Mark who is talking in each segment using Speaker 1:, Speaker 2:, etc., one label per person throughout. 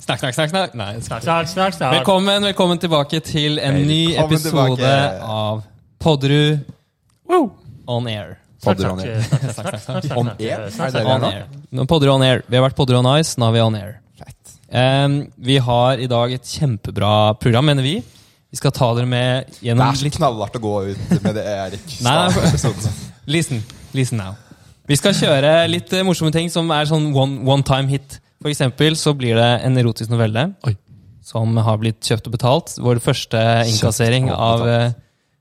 Speaker 1: Snakk, snakk, snakk. snakk. Nei,
Speaker 2: Snakk, snakk, snakk, snakk.
Speaker 1: Velkommen, velkommen tilbake til en ny
Speaker 3: Velkommen
Speaker 1: episode
Speaker 3: tilbake.
Speaker 1: av Podderud on air.
Speaker 2: Snakk,
Speaker 3: Podder on
Speaker 2: snakk,
Speaker 3: air.
Speaker 2: snakk, snakk, snakk, snakk, snakk,
Speaker 3: On
Speaker 2: snakk,
Speaker 3: air?
Speaker 2: snakk,
Speaker 3: Er det
Speaker 2: snakk,
Speaker 3: det vi
Speaker 1: On
Speaker 3: har nå?
Speaker 1: air. Nå er Podderud on air. Vi har vært Podderud on ice, nå er vi on air.
Speaker 3: Fett.
Speaker 1: Em, vi har i dag et kjempebra program, mener vi. Vi skal ta dere med
Speaker 3: Det
Speaker 1: gjennom
Speaker 3: er så
Speaker 1: litt
Speaker 3: knallhardt å gå ut med det, Erik.
Speaker 1: Mm. Nei, nei.
Speaker 3: Episoden.
Speaker 1: Listen, listen now. Vi skal kjøre litt eh, morsomme ting som er sånn one, one time hit. For eksempel så blir det en erotisk novelle
Speaker 2: Oi.
Speaker 1: som har blitt kjøpt og betalt. Vår første innkassering
Speaker 3: og
Speaker 1: av eh,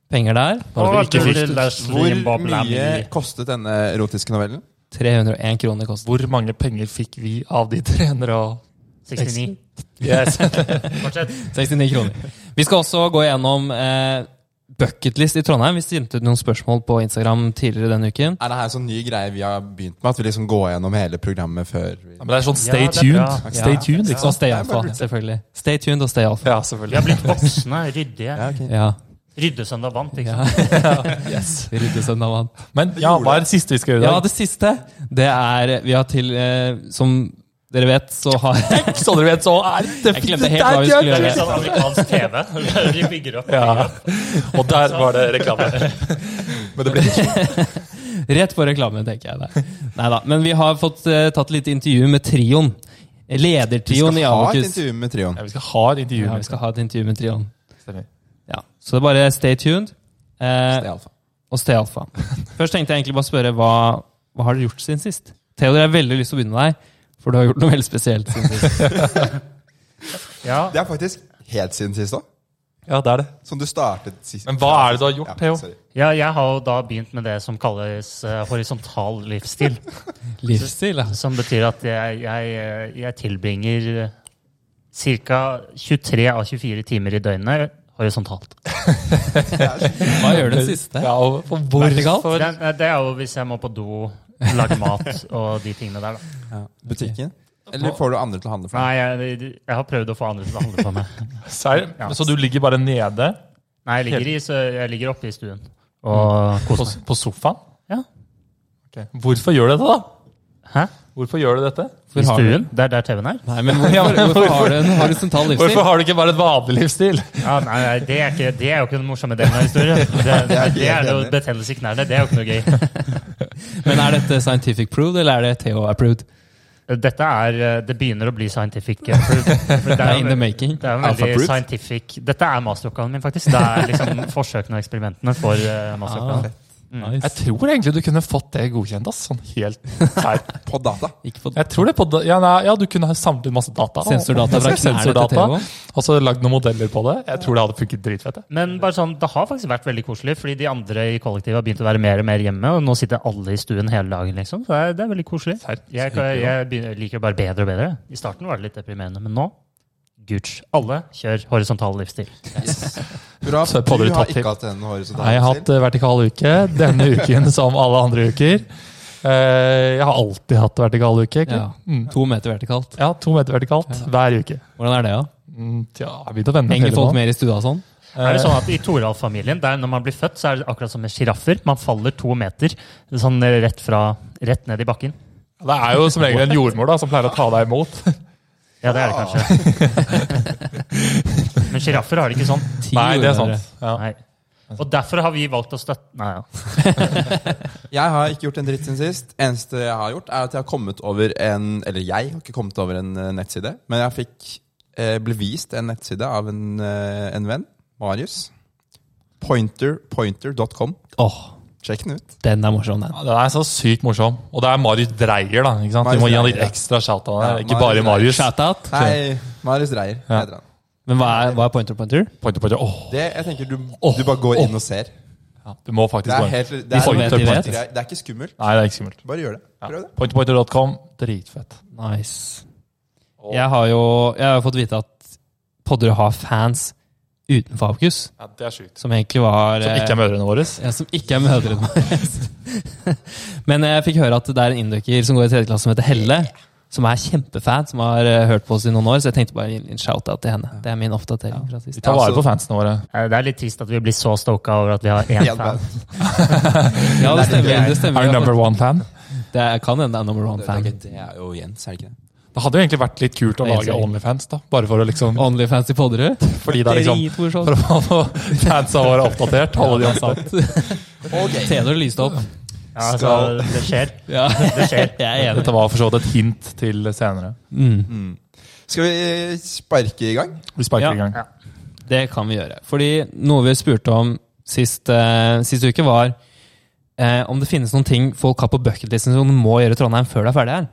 Speaker 1: penger der.
Speaker 2: Bare du ikke
Speaker 4: Hvor
Speaker 2: fikk
Speaker 3: Hvor
Speaker 2: Leslie Bob-Lammy.
Speaker 3: mye kostet denne erotiske novellen?
Speaker 1: 301 kroner koster.
Speaker 4: Hvor mange penger fikk vi av de 369?
Speaker 2: 69.
Speaker 4: Yes.
Speaker 2: Fortsett.
Speaker 1: 69 kroner. Vi skal også gå gjennom eh, bucketlist i Trondheim. Vi sendte ut noen spørsmål på Instagram tidligere denne uken.
Speaker 3: Er det her en sånn ny greie vi har begynt med? At vi liksom går gjennom hele programmet før vi
Speaker 4: Men det er sånn stay
Speaker 2: Ja, det er
Speaker 4: tuned.
Speaker 2: bra.
Speaker 4: Stay
Speaker 1: Ja.
Speaker 4: tuned,
Speaker 1: Og
Speaker 4: liksom.
Speaker 1: stay alfa, selvfølgelig. Stay tuned og stay alfa.
Speaker 4: Ja,
Speaker 2: Vi har
Speaker 4: selvfølgelig.
Speaker 2: blitt voksne, ryddige.
Speaker 1: Ja.
Speaker 2: Ryddesøndag vant, ikke
Speaker 1: Ja.
Speaker 2: sant?
Speaker 1: Ryddesønn av han.
Speaker 4: Men ja, hva er det siste vi skal gjøre i
Speaker 1: Ja,
Speaker 4: dag?
Speaker 1: det siste, det er Vi har til eh, Som dere vet, så har Jeg
Speaker 4: Så dere vet, så er det
Speaker 1: glemte helt hva vi skulle
Speaker 2: Det
Speaker 1: gjøre.
Speaker 2: er sånn amerikansk TV. Vi bygger opp.
Speaker 4: Ja. Og der var det reklame.
Speaker 3: Men det ble
Speaker 1: Rett på reklame, tenker jeg. Der. Neida, Men vi har fått eh, tatt litt intervju med trioen.
Speaker 3: Vi skal
Speaker 1: Ledertrioen i
Speaker 3: ha et
Speaker 1: Abokus.
Speaker 3: intervju med trioen.
Speaker 4: Ja, vi skal ha et intervju.
Speaker 1: Ja, vi skal ha et intervju med trioen.
Speaker 4: Stemmer.
Speaker 1: Ja. Så det er bare stay tuned. Eh,
Speaker 3: Det er alfa.
Speaker 1: og stay alfa. Først tenkte jeg egentlig bare spørre hva, hva har dere gjort siden sist? Theodor, jeg har veldig lyst til å begynne med deg, for du har gjort noe veldig spesielt siden sist.
Speaker 2: Ja.
Speaker 3: Det er faktisk helt siden sist òg.
Speaker 4: Ja, det er det.
Speaker 3: Som du startet sist.
Speaker 4: Men hva er det du har gjort,
Speaker 3: Ja,
Speaker 4: Theo?
Speaker 3: sorry.
Speaker 2: ja, jeg har jo da begynt med det som kalles eh, horisontal livsstil.
Speaker 1: Livsstil, altså.
Speaker 2: Som betyr at jeg, jeg, eh, jeg tilbringer ca. 23 av 24 timer i døgnet horisontalt.
Speaker 1: Hva gjør du den siste?
Speaker 4: Ja, og for
Speaker 1: Vertikalt?
Speaker 4: hvorfor?
Speaker 2: Det, det er jo hvis jeg må på do, lage mat og de tingene der, da.
Speaker 3: Butikken? Eller får du andre til å handle for deg?
Speaker 2: Nei, jeg, jeg har prøvd å få andre til å handle for meg.
Speaker 4: Serr?
Speaker 2: Ja.
Speaker 4: Så du ligger bare nede
Speaker 2: Nei, jeg ligger, i, så jeg ligger oppe i stuen og
Speaker 4: på,
Speaker 2: koser meg.
Speaker 4: på sofaen?
Speaker 2: Ja.
Speaker 4: Ok. Hvorfor gjør du dette, da?
Speaker 2: Hæ?
Speaker 4: Hvorfor gjør du dette?
Speaker 1: Hvor
Speaker 2: I
Speaker 1: har du-
Speaker 2: stuen? Det er der TV-en er?
Speaker 1: Nei, men hvorfor, hvorfor har du en horisontal livsstil?
Speaker 4: Hvorfor har du ikke bare et vanlig livsstil?
Speaker 2: Ja, nei, nei, det, er ikke, det er jo ikke den morsomme delen av historien. Det, det, er jo betennelse i knærne. Det er jo ikke noe gøy.
Speaker 1: Men er dette scientific proved, eller er det Theo approved?
Speaker 2: Dette er, eh, Det begynner å bli scientific. eh, For, for
Speaker 1: Det
Speaker 2: det
Speaker 1: er
Speaker 2: er,
Speaker 1: in the
Speaker 2: jo-
Speaker 1: making.
Speaker 2: det er jo
Speaker 3: Alpha
Speaker 2: veldig
Speaker 3: Brute.
Speaker 2: scientific. Dette er masteroppgaven min, faktisk. Det er liksom forsøkene og eksperimentene for eh, masteroppgaven.
Speaker 4: Jeg
Speaker 1: Nice.
Speaker 4: tror egentlig du kunne fått det godkjent. ass, sånn helt sær.
Speaker 3: På data?
Speaker 1: Ikke fått
Speaker 4: Jeg tror det på, da- ja, nei, ja, Du kunne ha samlet inn masse data. og-
Speaker 1: sensordata fra knærne til Theo.
Speaker 4: Sensordata, og så lagd noen modeller på det. Jeg tror det hadde funket dritfett. jeg.
Speaker 2: Men bare sånn, det har faktisk vært veldig koselig, fordi de andre i kollektivet har begynt å være mer og mer hjemme. Og nå sitter alle i stuen hele dagen, liksom. Så det er, det er veldig koselig.
Speaker 4: Serr.
Speaker 2: Jeg, kan- jeg begynner- liker det bare bedre og bedre. I starten var det litt deprimerende, men nå Gooch. Alle kjør horisontal livsstil.
Speaker 3: Bra.
Speaker 4: Så
Speaker 3: Du
Speaker 4: podder du
Speaker 3: har
Speaker 4: tatt til.
Speaker 3: ikke hatt en horisontal
Speaker 4: Nei, Jeg har hatt eh, vertikal uke denne uken som alle andre uker. Eh, Jeg har alltid hatt vertikal uke.
Speaker 1: Ja.
Speaker 4: Ja. Mm.
Speaker 1: To meter vertikalt.
Speaker 4: ja, To meter vertikalt hver uke.
Speaker 1: Hvordan er det, da?
Speaker 4: Mm, Tja, jeg begynte å vende
Speaker 1: Henger
Speaker 4: meg
Speaker 1: folk
Speaker 4: til det nå.
Speaker 1: mer i stua og sånn?
Speaker 2: Er det sånn at I Toralf-familien, der når man blir født, så er det akkurat som med sjiraffer. Man faller to meter sånn rett, fra, rett ned i bakken.
Speaker 4: Det er jo som regel en jordmor da, som pleier å ta deg imot.
Speaker 2: Ja, det er det kanskje. Men sjiraffer har det ikke sånn.
Speaker 1: Ti
Speaker 4: Nei, det er
Speaker 1: jordmødre.
Speaker 4: sant. Ja.
Speaker 2: Nei. Og derfor har vi valgt å støtte Nei, ja.
Speaker 3: Jeg har ikke gjort en dritt siden sist. Eneste jeg har gjort, er at jeg har kommet over en Eller jeg har ikke kommet over en eh, nettside, men jeg fikk eh, ble vist en nettside av en, eh, en venn, Marius. Pointerpointer.com.
Speaker 1: Åh,
Speaker 3: Sjekk den ut.
Speaker 1: den er morsom, den.
Speaker 4: Ja, Den er så sykt morsom. Og det er Marius Dreyer, da. ikke sant?
Speaker 3: Marius
Speaker 4: Vi må gi han
Speaker 3: Dreyer,
Speaker 4: litt
Speaker 3: ja.
Speaker 4: ekstra shout out.
Speaker 3: Ja,
Speaker 4: ikke
Speaker 3: Marius
Speaker 4: bare Marius.
Speaker 1: Shout-out.
Speaker 3: Nei, Marius Dreyer.
Speaker 4: Ja.
Speaker 3: heter han.
Speaker 1: Men hva er, hva er pointer pointer?
Speaker 4: Pointer, pointer. Åh,
Speaker 3: Det, jeg tenker du,
Speaker 4: Åh,
Speaker 3: du bare går
Speaker 4: åh.
Speaker 3: inn og ser.
Speaker 4: ja, du må faktisk
Speaker 3: Det
Speaker 4: gå
Speaker 3: er,
Speaker 4: inn.
Speaker 3: helt, det
Speaker 1: De
Speaker 3: er,
Speaker 1: får
Speaker 3: det
Speaker 1: med
Speaker 3: er,
Speaker 1: til
Speaker 3: det er, ikke skummelt.
Speaker 4: Nei, det er ikke skummelt.
Speaker 3: Bare gjør det.
Speaker 4: Ja.
Speaker 3: Prøv det.
Speaker 4: Pointerpointer.com, dritfett.
Speaker 1: Nice. Jeg har jo jeg har jo fått vite at podder har fans utenfor Abokus,
Speaker 4: Ja, det er sjukt.
Speaker 1: som egentlig var
Speaker 4: Som ikke er mødrene våre.
Speaker 1: Ja, som ikke er mødrene våre. Men jeg fikk høre at det er en inndøkker som går i tredje klasse som heter Helle. Som er kjempefan, som har eh, hørt på oss i noen år. Så jeg tenkte bare å gi en shout-out til henne. Det er min oppdatering fra
Speaker 4: Vi
Speaker 1: sist.
Speaker 4: tar
Speaker 3: Ja,
Speaker 4: vare
Speaker 3: altså-
Speaker 4: på fansene våre.
Speaker 2: Eh, Det er litt trist at vi blir så stoka over at vi har én
Speaker 3: Én
Speaker 2: fan.
Speaker 1: Ja, det stemmer. Det
Speaker 4: Our
Speaker 1: stemmer.
Speaker 4: number one fan.
Speaker 1: Det er- kan hende det er number one
Speaker 3: Det,
Speaker 1: fan.
Speaker 3: det er jo Jens, er det ikke det?
Speaker 4: Det hadde jo egentlig vært litt kult å
Speaker 1: Det er helt
Speaker 4: lage
Speaker 1: sikkert.
Speaker 4: Onlyfans, da. Bare for å liksom
Speaker 1: Onlyfans i Podderud. sånn.
Speaker 4: Fordi det er liksom
Speaker 1: Dritmorsomt.
Speaker 4: For å få fansa våre oppdatert. Holde de ansatt.
Speaker 1: Theodor lyste opp.
Speaker 2: Ja, altså,
Speaker 3: Skal-
Speaker 2: det skjer.
Speaker 1: Ja,
Speaker 2: Det skjer.
Speaker 1: jeg er enig.
Speaker 4: Dette var for så vidt et hint til senere.
Speaker 1: Mm.
Speaker 3: Skal vi sparke i gang?
Speaker 4: Vi sparker
Speaker 1: Ja.
Speaker 4: i gang.
Speaker 1: Det kan vi gjøre. Fordi noe vi spurte om sist, eh, sist uke, var eh, om det finnes noen ting folk har på bucketlisten som du må gjøre i Trondheim før du er ferdig her.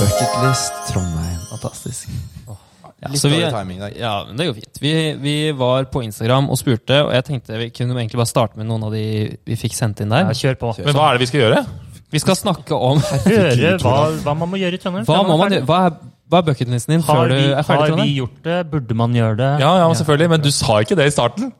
Speaker 3: Bucketlist Trondheim.
Speaker 1: Fantastisk. Ja,
Speaker 3: Litt
Speaker 1: så vi,
Speaker 3: dårlig timing i dag.
Speaker 1: ja, men det går fint. Vi, vi var på Instagram og spurte, og jeg tenkte vi kunne egentlig bare starte med noen av de vi fikk sendt inn
Speaker 2: Ja,
Speaker 1: der.
Speaker 2: kjør på.
Speaker 4: Men hva er det vi skal gjøre?
Speaker 1: Vi skal snakke om
Speaker 2: Høre hva, hva man må gjøre i Trondheim.
Speaker 1: hva
Speaker 2: før
Speaker 1: må man
Speaker 2: er
Speaker 1: gjøre. Hva er, hva er bucketlisten din
Speaker 2: ferdig. Har
Speaker 1: før du
Speaker 2: vi,
Speaker 1: er ferdig i
Speaker 2: har vi
Speaker 1: Trondheim?
Speaker 2: gjort det? Burde man gjøre det?
Speaker 4: Ja, ja, men selvfølgelig. Men du sa ikke det i starten.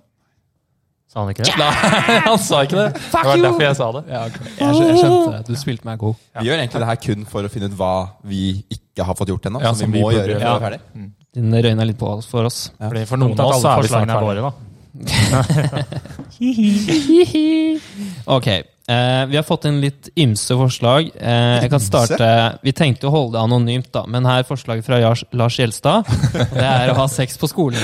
Speaker 2: Sa han ikke det?
Speaker 4: Nei, han sa ikke det. Det var derfor jeg sa det.
Speaker 1: Jeg, skj- jeg skjønte det. Du spilte meg god.
Speaker 3: Vi gjør egentlig det her kun for å finne ut hva vi ikke har fått gjort ennå.
Speaker 4: Ja,
Speaker 3: som
Speaker 4: som
Speaker 3: vi
Speaker 4: vi
Speaker 3: må
Speaker 4: burde
Speaker 3: gjøre
Speaker 4: gjøre.
Speaker 3: før vi er ferdig.
Speaker 1: Den røyna litt på oss for oss.
Speaker 3: Ja.
Speaker 4: Fordi for noen
Speaker 2: Dumt
Speaker 4: av
Speaker 2: at
Speaker 4: oss så
Speaker 2: alle
Speaker 4: er vi snart
Speaker 2: forslagene er våre, da.
Speaker 4: ferdig.
Speaker 1: Ok, eh, vi har fått inn litt ymse forslag. Eh, jeg kan starte, Vi tenkte å holde det anonymt, da, men her er forslaget fra Lars, Lars Gjelstad. Det er å ha sex på skolen.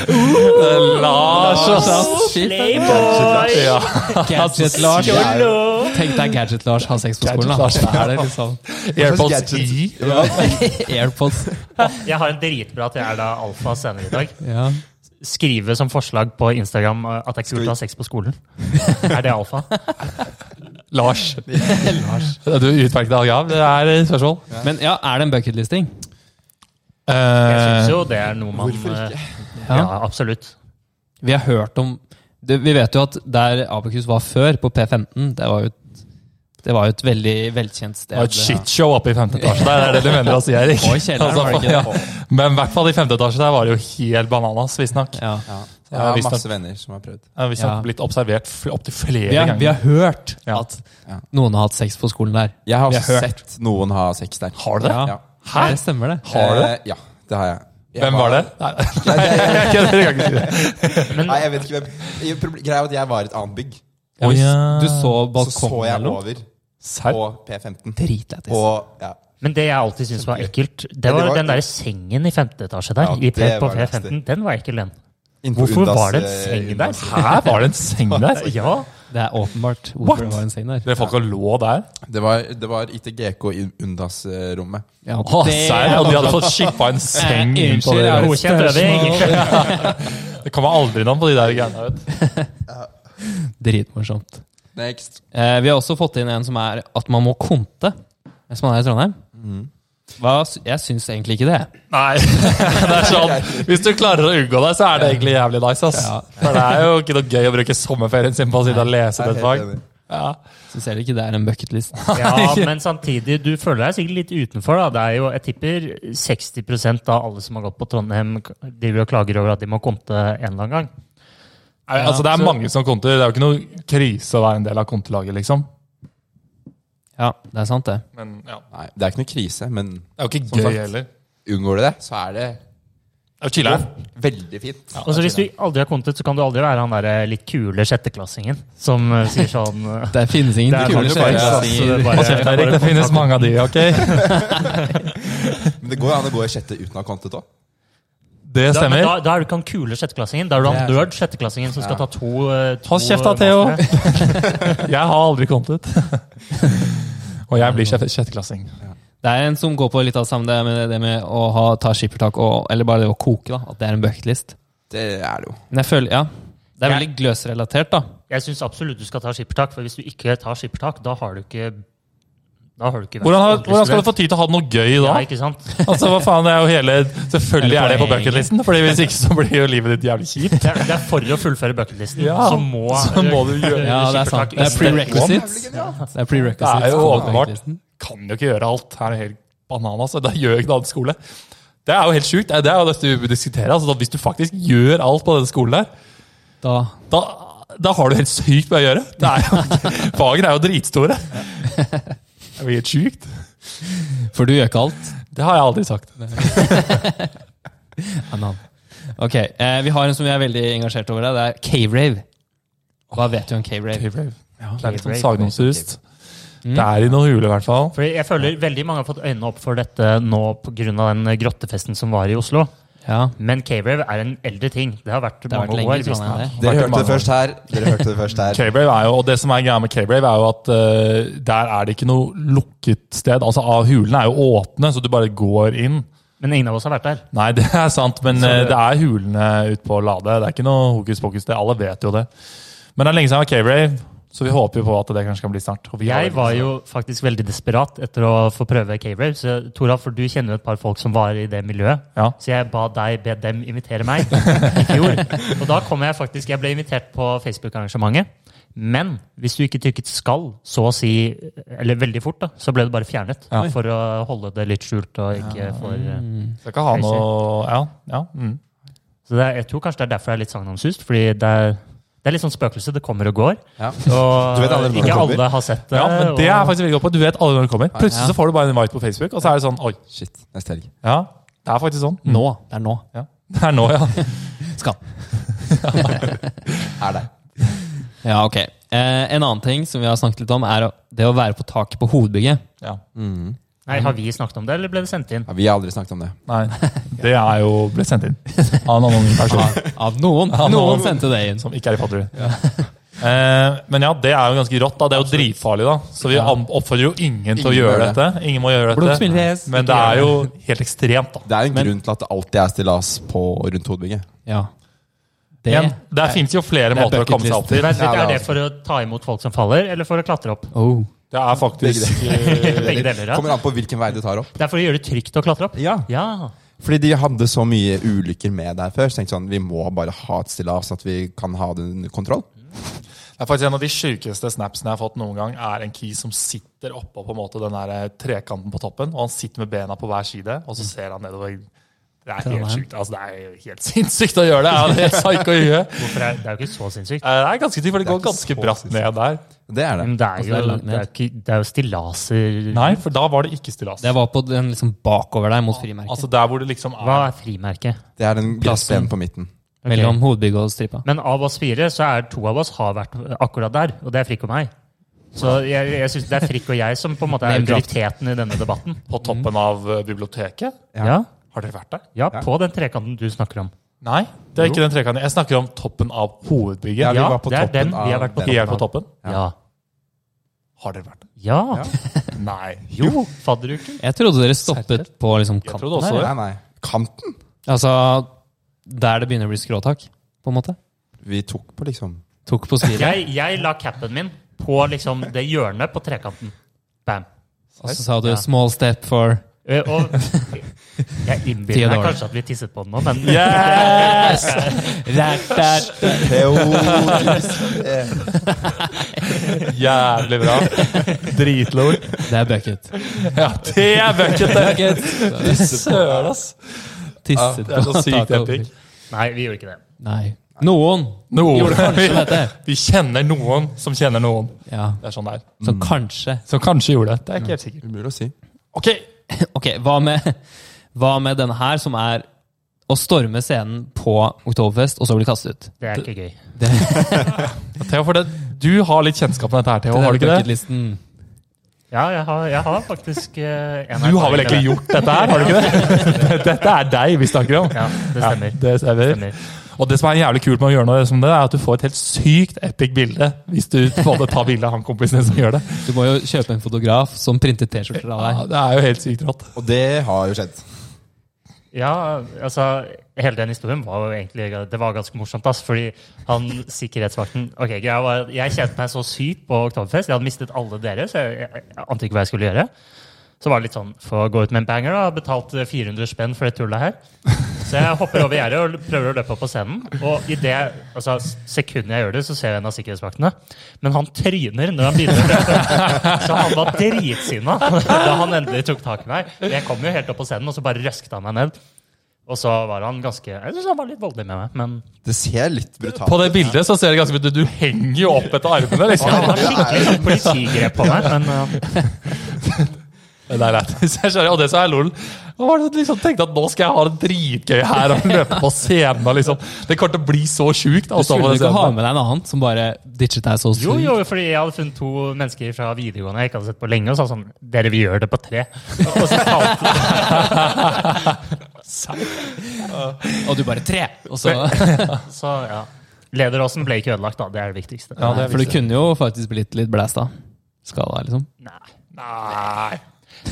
Speaker 4: Lars og
Speaker 1: Shit,
Speaker 2: Playboy!
Speaker 4: Ja.
Speaker 1: Gadget-Lars. Tenk deg Gadget-Lars ha sex på skolen. Da.
Speaker 4: Gadget-Lars.
Speaker 1: Hva er det liksom?
Speaker 4: AirPods
Speaker 3: Gadget.
Speaker 4: i.
Speaker 1: Airpods.
Speaker 2: Jeg har en dritbra til jeg er da alfa senere i dag.
Speaker 1: Ja.
Speaker 2: Skrive som forslag på Instagram eh, at jeg ikke
Speaker 3: vi-
Speaker 2: burde ha sex på skolen. Er det alfa?
Speaker 4: Lars. Du utmerket deg. Ja, det er et spørsmål.
Speaker 1: Men ja, er det en bucketlisting?
Speaker 2: Jeg syns
Speaker 4: Eh,
Speaker 2: jo det er noe man eh, Ja, absolutt.
Speaker 1: Vi har hørt om det, Vi vet jo at der Abakus var før, på P15, det var jo et, det var jo et veldig velkjent sted.
Speaker 4: det var et shitshow oppe i femte etasje der, er det du mener å si, Erik. Altså,
Speaker 1: Og i kjelleren, var det ikke det?
Speaker 4: ja. Men i hvert fall i femte etasje der var det jo helt bananas, visstnok.
Speaker 1: Ja.
Speaker 3: Ja. Jeg
Speaker 4: Ja,
Speaker 3: har
Speaker 4: visst
Speaker 3: masse venner som har prøvd.
Speaker 4: Jeg har visstnok
Speaker 1: Ja.
Speaker 4: blitt observert opptil flere
Speaker 1: Vi, har, vi
Speaker 4: ganger.
Speaker 1: har hørt
Speaker 4: Ja.
Speaker 1: at
Speaker 3: Ja.
Speaker 1: noen har hatt sex på skolen der.
Speaker 3: Jeg har,
Speaker 1: Vi har hørt.
Speaker 3: sett noen ha sex der.
Speaker 4: Har du det?
Speaker 1: Ja.
Speaker 3: Ja.
Speaker 4: Hæ?
Speaker 1: Det stemmer, det.
Speaker 4: Har du det?
Speaker 3: Eh, ja, det har jeg. jeg
Speaker 4: Hvem var det? Nei, jeg kødder, jeg kan ikke si det.
Speaker 3: Nei, jeg vet ikke hvem. I- proble- Greia er at jeg var i et annet bygg.
Speaker 1: Ja, hvis
Speaker 4: Ja.
Speaker 1: Du så
Speaker 3: Så så
Speaker 1: balkongen
Speaker 3: jeg
Speaker 1: eller noe?
Speaker 3: over
Speaker 4: Serr?
Speaker 3: på P15.
Speaker 1: Dritlættis.
Speaker 3: Og ja.
Speaker 2: Men det jeg alltid syntes var ekkelt, det
Speaker 3: Ja, det
Speaker 2: var
Speaker 3: var-
Speaker 2: den der sengen i femte etasje der.
Speaker 3: Ja,
Speaker 2: i P
Speaker 3: det
Speaker 2: på
Speaker 3: var det
Speaker 2: P15. Den var ekkel, den.
Speaker 3: inn på
Speaker 2: Hvorfor
Speaker 3: Undas,
Speaker 2: var det en
Speaker 3: eh,
Speaker 2: seng der?
Speaker 3: Undas.
Speaker 4: Hæ, var det en seng der?
Speaker 2: Ja,
Speaker 1: Det er åpenbart hvorfor
Speaker 4: What?
Speaker 1: det var en seng der.
Speaker 4: Dere folka lå der?
Speaker 3: Det var, det var ITGK i Undas-rommet.
Speaker 1: Ja,
Speaker 4: Å, serr? Og de hadde fått shippa en seng
Speaker 1: Eh,
Speaker 4: inn på
Speaker 1: unnskyld,
Speaker 4: det?
Speaker 1: er det
Speaker 2: Godkjent øving.
Speaker 1: spørsmål?
Speaker 4: Det kommer aldri navn på de der greiene. vet du.
Speaker 1: Dritmorsomt.
Speaker 3: Next.
Speaker 1: Eh, vi har også fått inn en som er at man må konte hvis man er i Trondheim. Hva, sy- jeg syns egentlig ikke det.
Speaker 4: Nei, det er sånn Hvis du klarer å unngå det, så er det egentlig jævlig nice. ass
Speaker 1: Ja.
Speaker 4: For det er jo ikke noe gøy å bruke sommerferien sin på å sitte og lese
Speaker 3: Jeg er
Speaker 4: det et
Speaker 3: helt
Speaker 4: fag.
Speaker 3: enig.
Speaker 4: Ja.
Speaker 1: Syns heller ikke det er en bucketlist.
Speaker 2: ja, men samtidig, du føler deg sikkert litt utenfor. da. Det er jo, Jeg tipper 60 av alle som har gått på Trondheim, driver og klager over at de må konte en eller annen gang.
Speaker 4: Nei, Altså, det er
Speaker 1: så-
Speaker 4: mange som konter. Det er jo ikke noe krise å være en del av kontelaget, liksom.
Speaker 1: Ja, det er sant, det.
Speaker 4: Men ja,
Speaker 3: Nei, det er ikke noe krise, men
Speaker 4: det er jo ikke
Speaker 3: Som sagt.
Speaker 4: gøy heller.
Speaker 3: unngår du det, så er det
Speaker 4: Det er jo chiller'n.
Speaker 3: veldig fint.
Speaker 2: Og så Hvis du aldri har kontet, så kan du aldri være han der eh, litt kule sjetteklassingen som eh, sier sånn eh,
Speaker 1: Det finnes ingen
Speaker 2: Det er
Speaker 1: kule altså.
Speaker 2: kanskje
Speaker 3: bare-
Speaker 1: skjebner.
Speaker 2: bare-
Speaker 4: Hold kjeft, Erik. Det finnes mange av de, ok?
Speaker 3: Men det går jo an å gå i sjette uten å ha kontet òg.
Speaker 4: Det
Speaker 2: Da, men
Speaker 4: stemmer.
Speaker 2: da, da er du ikke han kule sjetteklassingen, da er du han
Speaker 3: Det er
Speaker 2: nerd sjetteklassingen som skal ta to, eh, to
Speaker 4: Hold kjeft da, Theo. Jeg har aldri kontet. Og jeg blir sjette- sjetteklassing.
Speaker 1: Det er en som går på litt av det samme, det med, det med å ha, ta skippertak og Eller bare det å koke, da. At det er en bucketlist.
Speaker 3: Det er det jo.
Speaker 1: Men jeg føler, ja. Det er
Speaker 2: Ja.
Speaker 1: veldig gløsrelatert, da.
Speaker 2: Jeg syns absolutt du skal ta skippertak, for hvis du ikke tar skippertak, da har du ikke Da har du ikke vært
Speaker 4: Hvordan, har-
Speaker 2: ordentlig
Speaker 4: hvordan skal du få
Speaker 2: student.
Speaker 4: tid til å ha det noe gøy da?
Speaker 2: Ja, ikke sant?
Speaker 4: Altså, hva faen, det er jo hele Selvfølgelig
Speaker 1: Hele
Speaker 4: er det på
Speaker 1: poenget.
Speaker 4: bucketlisten, Fordi hvis ikke så blir jo livet ditt jævlig kjipt.
Speaker 2: Det er, det er for å fullføre bucketlisten,
Speaker 4: Ja,
Speaker 2: så må,
Speaker 4: så må du gjøre-
Speaker 1: Ja, det er sant. Det er prerequisites. Det er, prerequisites
Speaker 4: Det er jo
Speaker 1: på
Speaker 4: åpenbart.
Speaker 1: bucketlisten.
Speaker 4: Kan jo ikke gjøre alt. Her er det helt bananas. og Da gjør jeg ikke en annen skole. Det er jo helt sjukt. Det er- Det er jo det vi diskuterer. Altså, hvis du faktisk gjør alt på denne skolen der,
Speaker 1: Da
Speaker 4: da, da har du helt sykt mye å gjøre. Det er jo, fagene er jo dritstore. Det blir helt sjukt.
Speaker 1: For du gjør ikke alt.
Speaker 4: Det har jeg aldri sagt.
Speaker 1: Anan. Ok, eh, Vi har en som vi er veldig engasjert over. her. Det er Cave Rave. Hva vet du om Cave Rave?
Speaker 4: Cave Rave. Det er litt
Speaker 2: Cave
Speaker 4: sånn sagnomsust. Det er i noen huler, i hvert fall.
Speaker 2: Fordi jeg føler veldig mange har fått øynene opp for dette nå pga. den grottefesten som var i Oslo.
Speaker 1: Ja.
Speaker 2: Men K-Rave er en eldre ting. Det har vært
Speaker 1: har vært
Speaker 2: mange
Speaker 1: lenge i Trondheim,
Speaker 2: år. visstnok.
Speaker 1: det.
Speaker 3: Dere
Speaker 4: Vært i
Speaker 3: hørte det
Speaker 4: mange
Speaker 3: først her. Dere hørte det først her.
Speaker 4: K-Brave er jo, og det som er greia med K-Brave, er jo at eh, der er det ikke noe lukket sted. Altså, ah, Hulene er jo åpne, så du bare går inn.
Speaker 2: Men ingen av oss har vært der.
Speaker 4: Nei, det er sant, men eh, det er hulene ute på Lade. Det er ikke noe hokus pokus. det, Alle vet jo det. Men det er lenge siden jeg var K-Brave, så vi håper jo på at det kanskje kan bli snart. Og vi har
Speaker 2: Jeg
Speaker 4: det.
Speaker 2: var jo faktisk veldig desperat etter å få prøve K-Rave. Så Tora, for du kjenner jo et par folk som var i det miljøet.
Speaker 4: Ja.
Speaker 2: Så jeg ba deg be dem invitere meg i fjor. Og da kom jeg faktisk Jeg ble invitert på Facebook-arrangementet. Men hvis du ikke trykket 'skal', så å si, eller veldig fort, da, så ble det bare fjernet.
Speaker 4: Ja.
Speaker 2: For å holde det litt skjult og ikke for eh,
Speaker 4: Skal ikke ha noe Ja. ja mm.
Speaker 2: Så det er, jeg tror kanskje det er derfor det er litt sagnomsust. Fordi det er, det er litt sånn spøkelse. Det kommer og går.
Speaker 3: Ja.
Speaker 2: Og
Speaker 3: Du vet aldri når det
Speaker 2: ikke
Speaker 3: kommer.
Speaker 2: alle har sett det.
Speaker 4: ja, men det er
Speaker 2: og-
Speaker 4: faktisk veldig godt på. Du vet alle når det kommer. Plutselig så får du bare en invite på Facebook, og så er det sånn Oi.
Speaker 3: Shit, neste helg.
Speaker 4: Ja, det er faktisk sånn.
Speaker 1: Nå. Det er nå.
Speaker 4: Ja. Det er nå, ja.
Speaker 1: Skal.
Speaker 3: Er det.
Speaker 1: Ja, ok. Eh, en annen ting som vi har snakket litt om, er å- det å være på taket på hovedbygget.
Speaker 4: ja.
Speaker 2: Nei, Har vi snakket om det, eller ble det sendt inn?
Speaker 3: Ja, vi har aldri snakket om det.
Speaker 4: Nei. Det er jo blitt sendt inn av en annen person.
Speaker 1: Av noen. Noen sendte det inn.
Speaker 4: Som ikke er i Patrulje. Eh, men ja, det er jo ganske rått. da, Det er jo dritfarlig, da. Så vi am- oppfordrer jo ingen til å
Speaker 3: Ingen
Speaker 4: gjøre
Speaker 3: gjør det.
Speaker 4: dette. Ingen må gjøre
Speaker 1: Blunk, smil,
Speaker 4: dette.
Speaker 1: fjes.
Speaker 4: Men
Speaker 1: Ikke
Speaker 4: det
Speaker 1: gjør
Speaker 4: er jo helt ekstremt, da.
Speaker 3: Det er jo en grunn til at det alltid er stillas på rundt hodebygget.
Speaker 1: Ja. Det
Speaker 4: Men det fins jo flere
Speaker 1: er
Speaker 4: måter å komme seg opp til.
Speaker 2: Vent litt,
Speaker 3: Ja, det er
Speaker 2: Er det
Speaker 3: altså-
Speaker 2: for å ta imot folk som faller, eller for å klatre opp?
Speaker 1: oh.
Speaker 4: Det er faktisk
Speaker 2: Begge deler, ja.
Speaker 3: Kommer an på hvilken vei du tar opp.
Speaker 2: Det er for å gjøre det trygt å klatre opp?
Speaker 3: Ja,
Speaker 2: Ja.
Speaker 3: Fordi de hadde så mye ulykker med der før. Så tenkte jeg sånn, vi må bare ha et stillas, at vi kan ha det under kontroll.
Speaker 4: Det er faktisk En av de sjukeste snapsene jeg har fått noen gang, er en key som sitter oppå på en måte den der eh, trekanten på toppen. og Han sitter med bena på hver side, og så ser han nedover. Det er helt sjukt. Altså, det er helt sinnssykt å gjøre det! Ja, det er helt psyko i huet.
Speaker 2: Hvorfor er, det er jo ikke så sinnssykt.
Speaker 4: Eh, Det er ganske sykt, for det går
Speaker 3: ikke
Speaker 4: ganske
Speaker 3: så
Speaker 4: bratt
Speaker 3: sinnssykt.
Speaker 4: ned der.
Speaker 3: Det er det.
Speaker 2: Men det er
Speaker 1: det er
Speaker 2: jo,
Speaker 1: langt
Speaker 2: det
Speaker 1: ned.
Speaker 2: er ikke, det er jo stillaser
Speaker 4: Nei, for da var det ikke altså. stillas.
Speaker 1: Det var på den liksom bakover der, mot frimerket.
Speaker 4: Altså der hvor det liksom er
Speaker 2: Hva er frimerket?
Speaker 3: Det er den
Speaker 1: Plassen.
Speaker 3: gressplenen på midten.
Speaker 1: Mellom hovedbygget og stripa.
Speaker 2: Men av oss fire så er to av oss har vært akkurat der, og det er Frikk og meg. Så jeg, jeg synes det er Frikk og jeg som på en måte er
Speaker 1: Name drop.
Speaker 2: autoriteten i denne debatten.
Speaker 4: på toppen av eh, biblioteket.
Speaker 3: Ja.
Speaker 2: Ja,
Speaker 4: Har dere vært der?
Speaker 2: ja på den trekanten du snakker om.
Speaker 4: Nei, det er ikke den trekanten. Jeg snakker om toppen av
Speaker 3: Ja,
Speaker 4: hovedbygget.
Speaker 3: vi
Speaker 2: Ja,
Speaker 3: var på
Speaker 2: det er
Speaker 3: toppen
Speaker 2: den vi har
Speaker 3: av
Speaker 2: vært på
Speaker 3: den.
Speaker 4: Helt på toppen.
Speaker 2: Ja.
Speaker 4: Har dere vært der?
Speaker 2: Ja.
Speaker 4: Nei.
Speaker 2: Jo, fadderuken.
Speaker 1: Jeg trodde dere stoppet på liksom
Speaker 4: Jeg
Speaker 1: kanten.
Speaker 4: trodde også det.
Speaker 3: Nei, nei. Kanten?
Speaker 1: Altså der det begynner å bli skråtak, på en måte.
Speaker 3: Vi tok på, liksom.
Speaker 1: Tok på spiret,
Speaker 2: Jeg, jeg la capen min på liksom det hjørnet på trekanten. Bam.
Speaker 1: og så sa du
Speaker 2: Ja.
Speaker 1: 'small step for
Speaker 2: Eh, Og jeg
Speaker 1: Ti
Speaker 2: innbiller meg
Speaker 1: dager.
Speaker 2: kanskje at vi tisset på den nå, men
Speaker 4: Yes! Jævlig bra. Dritlor.
Speaker 1: Det er bucket.
Speaker 4: Ja, det er bucket, det! Søren, ass.
Speaker 1: Tisset
Speaker 4: Det er så
Speaker 1: på
Speaker 4: sykt
Speaker 1: taket over.
Speaker 4: epic.
Speaker 2: Nei, vi gjorde ikke det.
Speaker 1: Nei. Noen gjorde
Speaker 4: Noen.
Speaker 1: kanskje dette.
Speaker 4: Vi kjenner noen som kjenner noen.
Speaker 1: Ja,
Speaker 4: Det er sånn det er.
Speaker 1: Så kanskje.
Speaker 4: Som kanskje gjorde det. Det er ikke helt sikkert.
Speaker 3: Umulig å si.
Speaker 4: Ok,
Speaker 1: Ok, hva med, hva med denne her, som er å storme scenen på Oktoberfest, og så bli kastet ut?
Speaker 2: Det er ikke gøy.
Speaker 4: Theo, for det, du har litt kjennskap med dette her, Theo. Har du ikke det?
Speaker 1: bucketlisten.
Speaker 2: Ja, jeg har, jeg har faktisk eh, en
Speaker 4: Du har vel
Speaker 2: erfaring med
Speaker 4: egentlig gjort dette her, har du ikke det? Dette er deg vi snakker om.
Speaker 2: det. Ja, det stemmer.
Speaker 4: Det stemmer.
Speaker 2: stemmer.
Speaker 4: Og det som er jævlig kult med å gjøre noe som det, er at du får et helt sykt epic bilde hvis du på en måte tar bilde av han kompisen din som gjør det.
Speaker 1: Du må jo kjøpe en fotograf som printer T-skjorter av
Speaker 4: Ja,
Speaker 1: deg.
Speaker 4: det er jo helt sykt rått.
Speaker 3: Og det har jo skjedd.
Speaker 2: Ja, altså Hele den historien var jo egentlig Det var ganske morsomt. ass, fordi han sikkerhetsvakten ok, greia var, at Jeg kjente meg så sykt på Oktoberfest. Jeg hadde mistet alle dere, så jeg, jeg, jeg ante ikke hva jeg skulle gjøre. Så var det litt sånn Få gå ut med en banger, da. Betalt eh, 400 spenn for det tullet her. Så jeg hopper over gjerdet og prøver å løpe opp på scenen. Og i det altså, sekundet jeg gjør det, så ser jeg en av sikkerhetsvaktene. Men han tryner når han begynner å løpe. Så han var dritsinna da han endelig tok tak i meg. Jeg kom jo helt opp på scenen, og så bare røsket han meg ned. Og så var han ganske Jeg synes han var litt voldelig med meg, men
Speaker 3: Det ser litt brutalt
Speaker 4: På det bildet så ser det ganske ut som du henger jo opp etter armene.
Speaker 2: Han
Speaker 4: liksom.
Speaker 2: eh, var skikkelig sånn politigrep på meg. Men uh,
Speaker 4: Det er lættis. Jeg skjønner, og det som er lol Hva var det du liksom tenkte at nå skal jeg ha det dritgøy her og løpe på scenen? og Liksom. Det kommer til å bli så sjukt. da, å
Speaker 1: Du
Speaker 4: stå på
Speaker 1: skulle
Speaker 4: den
Speaker 1: ikke ha
Speaker 4: scenen.
Speaker 1: med deg en annen som bare ditchet deg så
Speaker 2: Jo,
Speaker 1: sykt?
Speaker 2: jo, fordi jeg hadde funnet to mennesker fra videregående jeg ikke hadde sett på lenge, og sa sånn Dere, vi gjør det på tre. Og så falt det.
Speaker 1: Og du bare tre! Og så,
Speaker 2: Så ja. Lederåsen ble ikke ødelagt, da. Det er det viktigste.
Speaker 4: Ja, det er
Speaker 1: for du
Speaker 4: viktig.
Speaker 1: kunne jo faktisk blitt litt blæst av skala, liksom.
Speaker 2: Nei.
Speaker 4: Nei.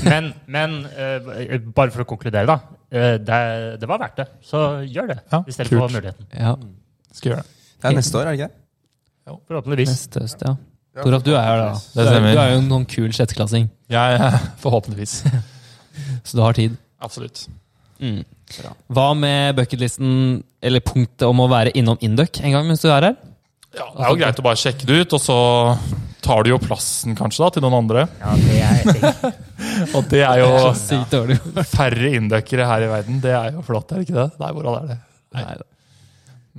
Speaker 2: Men, men eh, bare for å konkludere, da. eh, det, det var verdt det. Så gjør det,
Speaker 4: Ja,
Speaker 2: hvis dere
Speaker 4: kult.
Speaker 2: får muligheten.
Speaker 1: Ja,
Speaker 4: Skal gjøre det.
Speaker 3: Det er neste år, er det ikke det?
Speaker 2: Forhåpentligvis.
Speaker 1: Neste høst, ja. Toralf, du er her, da. Du
Speaker 4: Det
Speaker 1: er,
Speaker 4: stemmer.
Speaker 1: du er jo noen kul sjetteklassing,
Speaker 4: Jeg, forhåpentligvis.
Speaker 1: så du har tid.
Speaker 4: Absolutt.
Speaker 3: Bra.
Speaker 1: Hva med bucketlisten, eller punktet om å være innom Induc en gang mens du er her?
Speaker 4: Ja, det er jo greit å bare sjekke det ut, og så tar du jo plassen kanskje da, til noen andre.
Speaker 2: Ja, det er
Speaker 4: Og det er jo
Speaker 1: Sykt dårlig.
Speaker 4: færre inndøkkere her i verden. Det er jo flott, er det ikke det? Nei, hvordan er det?
Speaker 1: Neida.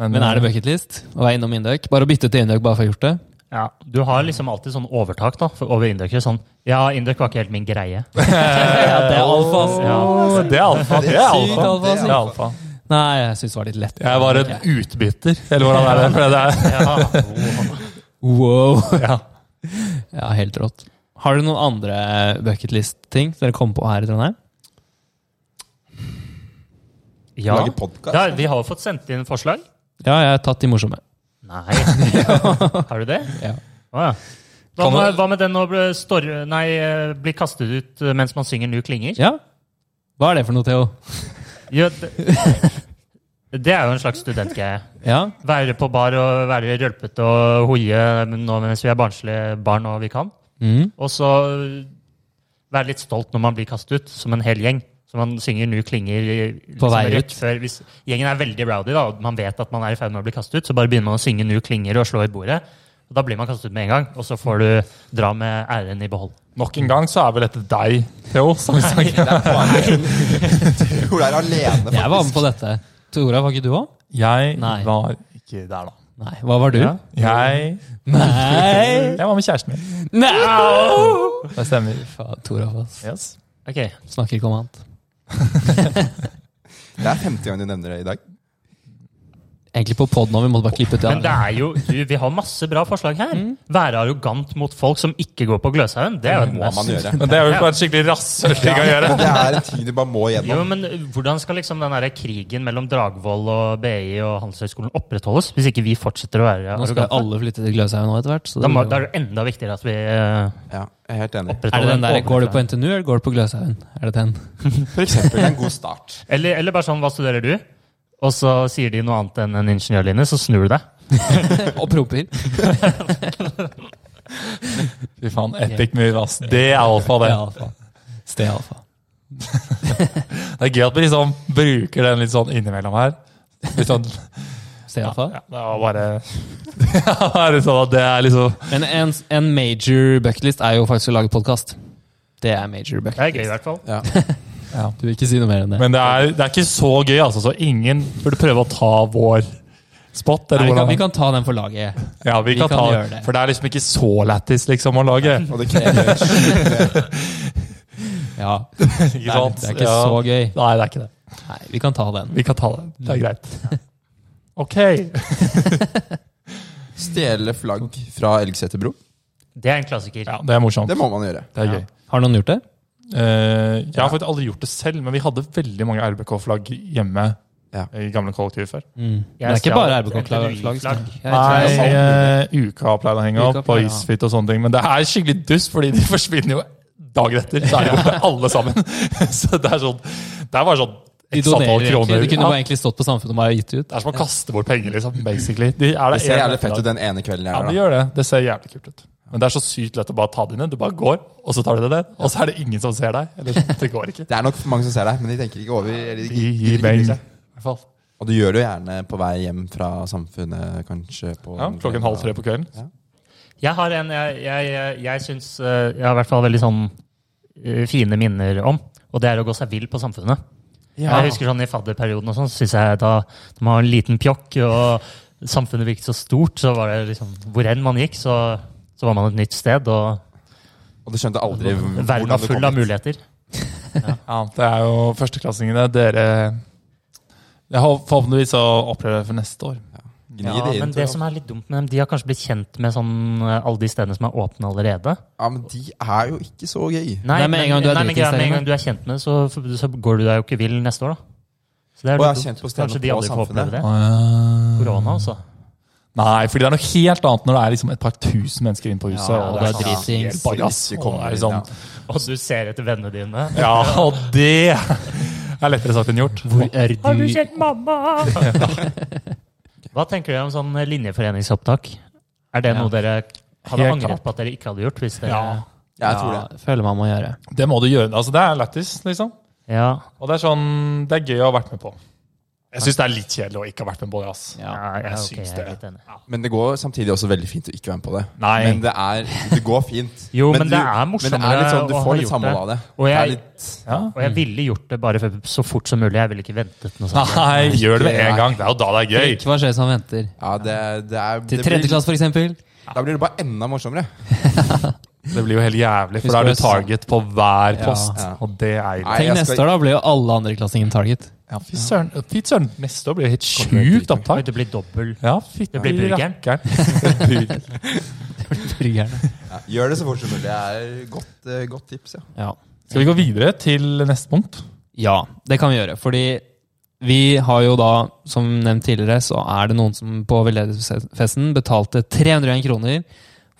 Speaker 1: Men er det
Speaker 4: eh,
Speaker 1: bucketlist å være innom Induc? Bare å bytte til Induc bare for å ha gjort det?
Speaker 2: ja, Du har liksom alltid sånn overtak da, for, over indøkere. Sånn Ja, indøk var ikke helt min greie.
Speaker 1: Ja, det er alfa. ass.
Speaker 4: Åh, Det er alfa. Det er
Speaker 1: Sykt alfa, altså.
Speaker 4: alfa.
Speaker 1: sykt.
Speaker 4: Det er alfa.
Speaker 1: Nei, jeg syns det var litt lett.
Speaker 4: Jeg var en utbytter, eller hvordan er det? For det er,
Speaker 2: Ja.
Speaker 1: Wow.
Speaker 4: ja.
Speaker 1: Ja, helt rått. Har dere noen andre bucketlist-ting dere kom på her i Trondheim?
Speaker 2: ja.
Speaker 3: Lage podcast?
Speaker 2: Da, vi har jo fått sendt inn forslag.
Speaker 1: Ja, jeg har tatt de morsomme.
Speaker 2: Nei. Har du det?
Speaker 1: Ja.
Speaker 2: Å, ja. Hva
Speaker 4: Kan
Speaker 2: med,
Speaker 4: du-
Speaker 2: hva med den å bli, storre, nei, eh, bli kastet ut eh, mens man synger Nu klinger?
Speaker 1: ja? Hva er det for noe, Theo?
Speaker 2: Jo, det, det er jo en slags studentgreie.
Speaker 1: Ja?
Speaker 2: Være på bar og være rølpete og hoie nå mens vi er barnslige barn og vi kan.
Speaker 1: Mm.
Speaker 2: Og så være litt stolt når man blir kastet ut, som en hel gjeng. Så man synger Nu klinger i-
Speaker 1: På vei
Speaker 2: rett
Speaker 1: ut.
Speaker 2: Før, hvis gjengen er veldig rowdy, da, og man vet at man er i ferd med å bli kastet ut, så bare begynner man å synge Nu klinger og slå i bordet. Og da blir man kastet ut med en gang, og så får du dra med æren i behold.
Speaker 4: Nok en gang så er vel dette deg, Theo, som vi snakker
Speaker 3: Det er bare Hvor det er alene, faktisk.
Speaker 1: Jeg var med på dette. Tora, var ikke du òg?
Speaker 4: Jeg
Speaker 1: Nei.
Speaker 4: var ikke der, da.
Speaker 1: Nei. Hva var du?
Speaker 4: Ja. Jeg,
Speaker 1: Nei!
Speaker 4: jeg var med kjæresten min.
Speaker 1: No!
Speaker 4: Det stemmer.
Speaker 1: Faen, Toralf, ass.
Speaker 4: Yes.
Speaker 2: Ok,
Speaker 1: Snakker ikke om annet.
Speaker 3: Det er femte gang du nevner det i dag.
Speaker 1: Egentlig på poden nå, vi måtte bare klippe ut det
Speaker 2: Men det
Speaker 1: andre.
Speaker 2: er jo, du, vi har masse bra forslag her.
Speaker 1: Mm.
Speaker 2: Være arrogant mot folk som ikke går på Gløshaugen. Det er jo et
Speaker 3: Må man
Speaker 2: must.
Speaker 3: gjøre.
Speaker 4: Men det er jo bare et skikkelig rasshølting å gjøre.
Speaker 3: Det er en ting du bare må
Speaker 2: Jo,
Speaker 3: gjennom.
Speaker 2: men Hvordan skal liksom den der krigen mellom Dragvoll og BI og Handelshøyskolen opprettholdes hvis ikke vi fortsetter å være
Speaker 1: Nå skal
Speaker 2: arrogante?
Speaker 1: alle flytte til Gløshaugen nå etter hvert. Så
Speaker 2: Da, må, da
Speaker 1: er
Speaker 2: er det enda viktigere at vi eh,
Speaker 3: Ja, jeg er helt enig.
Speaker 1: det
Speaker 2: opprettholder
Speaker 1: den der, Går du på
Speaker 2: overklassen.
Speaker 1: NTNU, eller går du på Gløshaugen? Er det den?
Speaker 3: For eksempel, det er en god start.
Speaker 2: eller, eller bare sånn, hva studerer du? Og så sier de noe annet enn en ingeniørlinje, så snur du deg.
Speaker 1: Og promper.
Speaker 4: Fy faen, epic move, ass. Det er alfa, det.
Speaker 1: Ja, alfa. Sted alfa.
Speaker 4: Det er gøy at vi liksom bruker den litt sånn innimellom her. Litt sånn,
Speaker 1: Sted alfa.
Speaker 4: ja, det var bare Ja, bare sånn at det er liksom
Speaker 1: Men en, en major bucketlist er jo faktisk å lage podkast. Det er major
Speaker 2: Det er gøy,
Speaker 1: bucketlist.
Speaker 2: i hvert fall.
Speaker 3: Ja.
Speaker 1: Du vil ikke si noe mer enn det.
Speaker 4: Men det er, det er ikke så gøy, altså. Så ingen burde prøve å ta vår spot.
Speaker 1: Nei,
Speaker 4: Eller
Speaker 1: vi, kan,
Speaker 4: hvordan-
Speaker 1: vi kan ta den for laget.
Speaker 4: ja, vi, kan, ta, gjøre det. For det er liksom ikke så lættis liksom, å lage.
Speaker 3: Og det krever en sjukt-
Speaker 1: Ja.
Speaker 4: Ikke sant?
Speaker 1: Det er ikke så gøy.
Speaker 4: Nei, det er ikke det.
Speaker 1: Nei, vi kan ta den.
Speaker 4: Vi kan ta det. Det er greit. Ok.
Speaker 3: Stjele flagg fra Elgseter bro.
Speaker 2: Det er en klassiker.
Speaker 4: Ja, det er morsomt.
Speaker 3: Det må man gjøre.
Speaker 4: Det er gøy.
Speaker 1: Har noen gjort det?
Speaker 4: Eh, jeg har faktisk aldri gjort det selv, men vi hadde veldig mange RBK-flagg hjemme
Speaker 3: Ja.
Speaker 4: i gamle kollektiv før.
Speaker 1: Mm. Det er ikke
Speaker 2: stjal
Speaker 1: bare
Speaker 2: et
Speaker 1: RBK-flagg.
Speaker 2: NTNU-flagg.
Speaker 4: Nei,
Speaker 1: Nei.
Speaker 4: eh, uka pleide å henge
Speaker 1: Uka
Speaker 4: opp, og
Speaker 1: pleide, ja.
Speaker 4: isfit og sånne ting. Men det er skikkelig dust, fordi de forsvinner jo dagen etter. Så er de borte, alle sammen. Så det er sånn Det er bare sånn
Speaker 1: De
Speaker 4: et satt
Speaker 1: donerer
Speaker 4: antall
Speaker 1: egentlig.
Speaker 4: kroner.
Speaker 1: De kunne
Speaker 4: Ja,
Speaker 1: bare egentlig stått på Samfunnet og bare gitt det ut.
Speaker 4: det er som å kaste bort penger, liksom. Basically. De, er
Speaker 3: Det ser
Speaker 4: en-
Speaker 3: jævlig fett ut den ene kvelden jeg
Speaker 4: Ja, det
Speaker 3: er der.
Speaker 4: gjør det. Det ser jævlig kult ut. Men det er så sykt lett å bare ta det inn. Du bare går, og så tar du det ned. Og så er det ingen som ser deg. Eller, det går ikke.
Speaker 3: Det er nok for mange som ser deg, men de tenker ikke over. Eller de
Speaker 4: I
Speaker 3: gidder ikke bry
Speaker 4: beng.
Speaker 3: seg.
Speaker 4: I hvert fall.
Speaker 3: Og du gjør det jo gjerne på vei hjem fra samfunnet, kanskje. På
Speaker 4: Ja, klokken halv tre på kvelden.
Speaker 2: Jeg har en jeg, jeg, jeg, jeg syns eh, jeg har i hvert fall veldig sånn eh, fine minner om, og det er å gå seg vill på samfunnet. Jeg husker sånn I fadderperioden og sånn, så synes jeg da når man var en liten pjokk, og samfunnet virket så stort, så var det liksom Hvor enn man gikk, så, så var man et nytt sted, og
Speaker 3: Og du skjønte aldri hvordan
Speaker 2: verden var
Speaker 3: du kom
Speaker 2: full av
Speaker 3: dit.
Speaker 2: muligheter.
Speaker 4: Ja, det er jo førsteklassingene. Dere Jeg håper forhåpentligvis å oppleve det for neste år.
Speaker 3: Gni
Speaker 2: Ja,
Speaker 3: det inn.
Speaker 2: men
Speaker 3: Tor.
Speaker 2: det som er litt dumt med dem, de har kanskje blitt kjent med sånn, eh, alle de stedene som er åpne allerede.
Speaker 3: Ja, men de er jo ikke så gøy.
Speaker 1: Nei, med en gang du er
Speaker 2: nei,
Speaker 1: dritings,
Speaker 2: men greia med en
Speaker 1: Henrik.
Speaker 2: gang du er kjent med det, så, så går du deg jo ikke vill neste år, da. Så det
Speaker 3: Og jeg
Speaker 2: litt
Speaker 3: er kjent
Speaker 2: dumt.
Speaker 3: på stedene
Speaker 2: Kanskje de
Speaker 3: på
Speaker 2: aldri får
Speaker 3: samfunnet.
Speaker 2: oppleve det. Korona, altså.
Speaker 4: Nei, fordi det er noe helt annet når det er liksom et par tusen mennesker inne på huset.
Speaker 2: Ja, ja,
Speaker 4: og
Speaker 1: det er
Speaker 4: sånn,
Speaker 1: dritings.
Speaker 4: helt bagass.
Speaker 3: Ikke
Speaker 4: Og
Speaker 3: kommer
Speaker 4: det er
Speaker 3: inn,
Speaker 4: sånn,
Speaker 3: ja.
Speaker 2: Og du ser etter vennene dine.
Speaker 4: ja, og det er lettere sagt enn gjort.
Speaker 1: Hvor er du?
Speaker 2: mamma? Hva tenker dere om sånn linjeforeningsopptak? Er det
Speaker 1: Ja.
Speaker 2: noe dere hadde
Speaker 4: Helt klart.
Speaker 2: angret på at dere ikke hadde gjort? Hvis dere...
Speaker 4: Ja.
Speaker 3: Jeg tror det.
Speaker 1: Ja, føler man må gjøre.
Speaker 4: Det må du gjøre. Altså, det er lættis, liksom.
Speaker 2: Ja.
Speaker 4: Og det er sånn, det er gøy å ha vært med på. Jeg syns det er litt kjedelig å ikke ha vært med på det. ass.
Speaker 1: Ja.
Speaker 2: ja, ok,
Speaker 4: syns
Speaker 2: jeg er
Speaker 4: det.
Speaker 2: litt enig.
Speaker 3: Men det går samtidig også veldig fint å ikke være med på det.
Speaker 4: Nei.
Speaker 3: Men det, er, det går fint.
Speaker 2: Jo, men
Speaker 3: du-
Speaker 2: det er
Speaker 3: Men det er litt
Speaker 2: morsommere
Speaker 3: sånn, du
Speaker 2: å ha
Speaker 3: får litt
Speaker 2: gjort det.
Speaker 3: samhold av det.
Speaker 2: Og
Speaker 3: det
Speaker 2: jeg-
Speaker 3: er litt,
Speaker 4: Ja.
Speaker 2: Og jeg ville gjort det bare for, så fort som mulig. Jeg ville ikke ventet noe sånt.
Speaker 4: Nei, gjør det med en gang. Det er jo da det er gøy.
Speaker 1: Drikk hva skjer som venter.
Speaker 3: ja, det, det er,
Speaker 1: Til
Speaker 3: det
Speaker 1: tredje
Speaker 3: blir,
Speaker 1: klasse, for eksempel.
Speaker 3: da blir det bare enda morsommere.
Speaker 4: Det blir jo helt jævlig, for
Speaker 1: Husk
Speaker 4: da er
Speaker 1: det.
Speaker 4: du target på hver post.
Speaker 3: Ja.
Speaker 4: Og det er jo
Speaker 3: Nei,
Speaker 1: Tenk
Speaker 3: jeg
Speaker 1: neste år,
Speaker 3: skal-
Speaker 1: da blir jo alle andreklassingen target.
Speaker 4: ja, Fy søren. Fy søren. Neste år blir det helt sjukt
Speaker 2: Oi,
Speaker 4: opptak.
Speaker 2: Det blir dobbel.
Speaker 4: Ja, fy
Speaker 2: Det blir burgeren.
Speaker 4: rakkeren.
Speaker 1: Burgerne.
Speaker 3: Ja, gjør det så fort som mulig. Det er godt, eh, godt tips, ja.
Speaker 1: Ja.
Speaker 4: Skal vi gå videre til neste punkt?
Speaker 1: ja, det kan vi gjøre. Fordi vi har jo da, som nevnt tidligere, så er det noen som på veldedighetsfesten betalte 301 kroner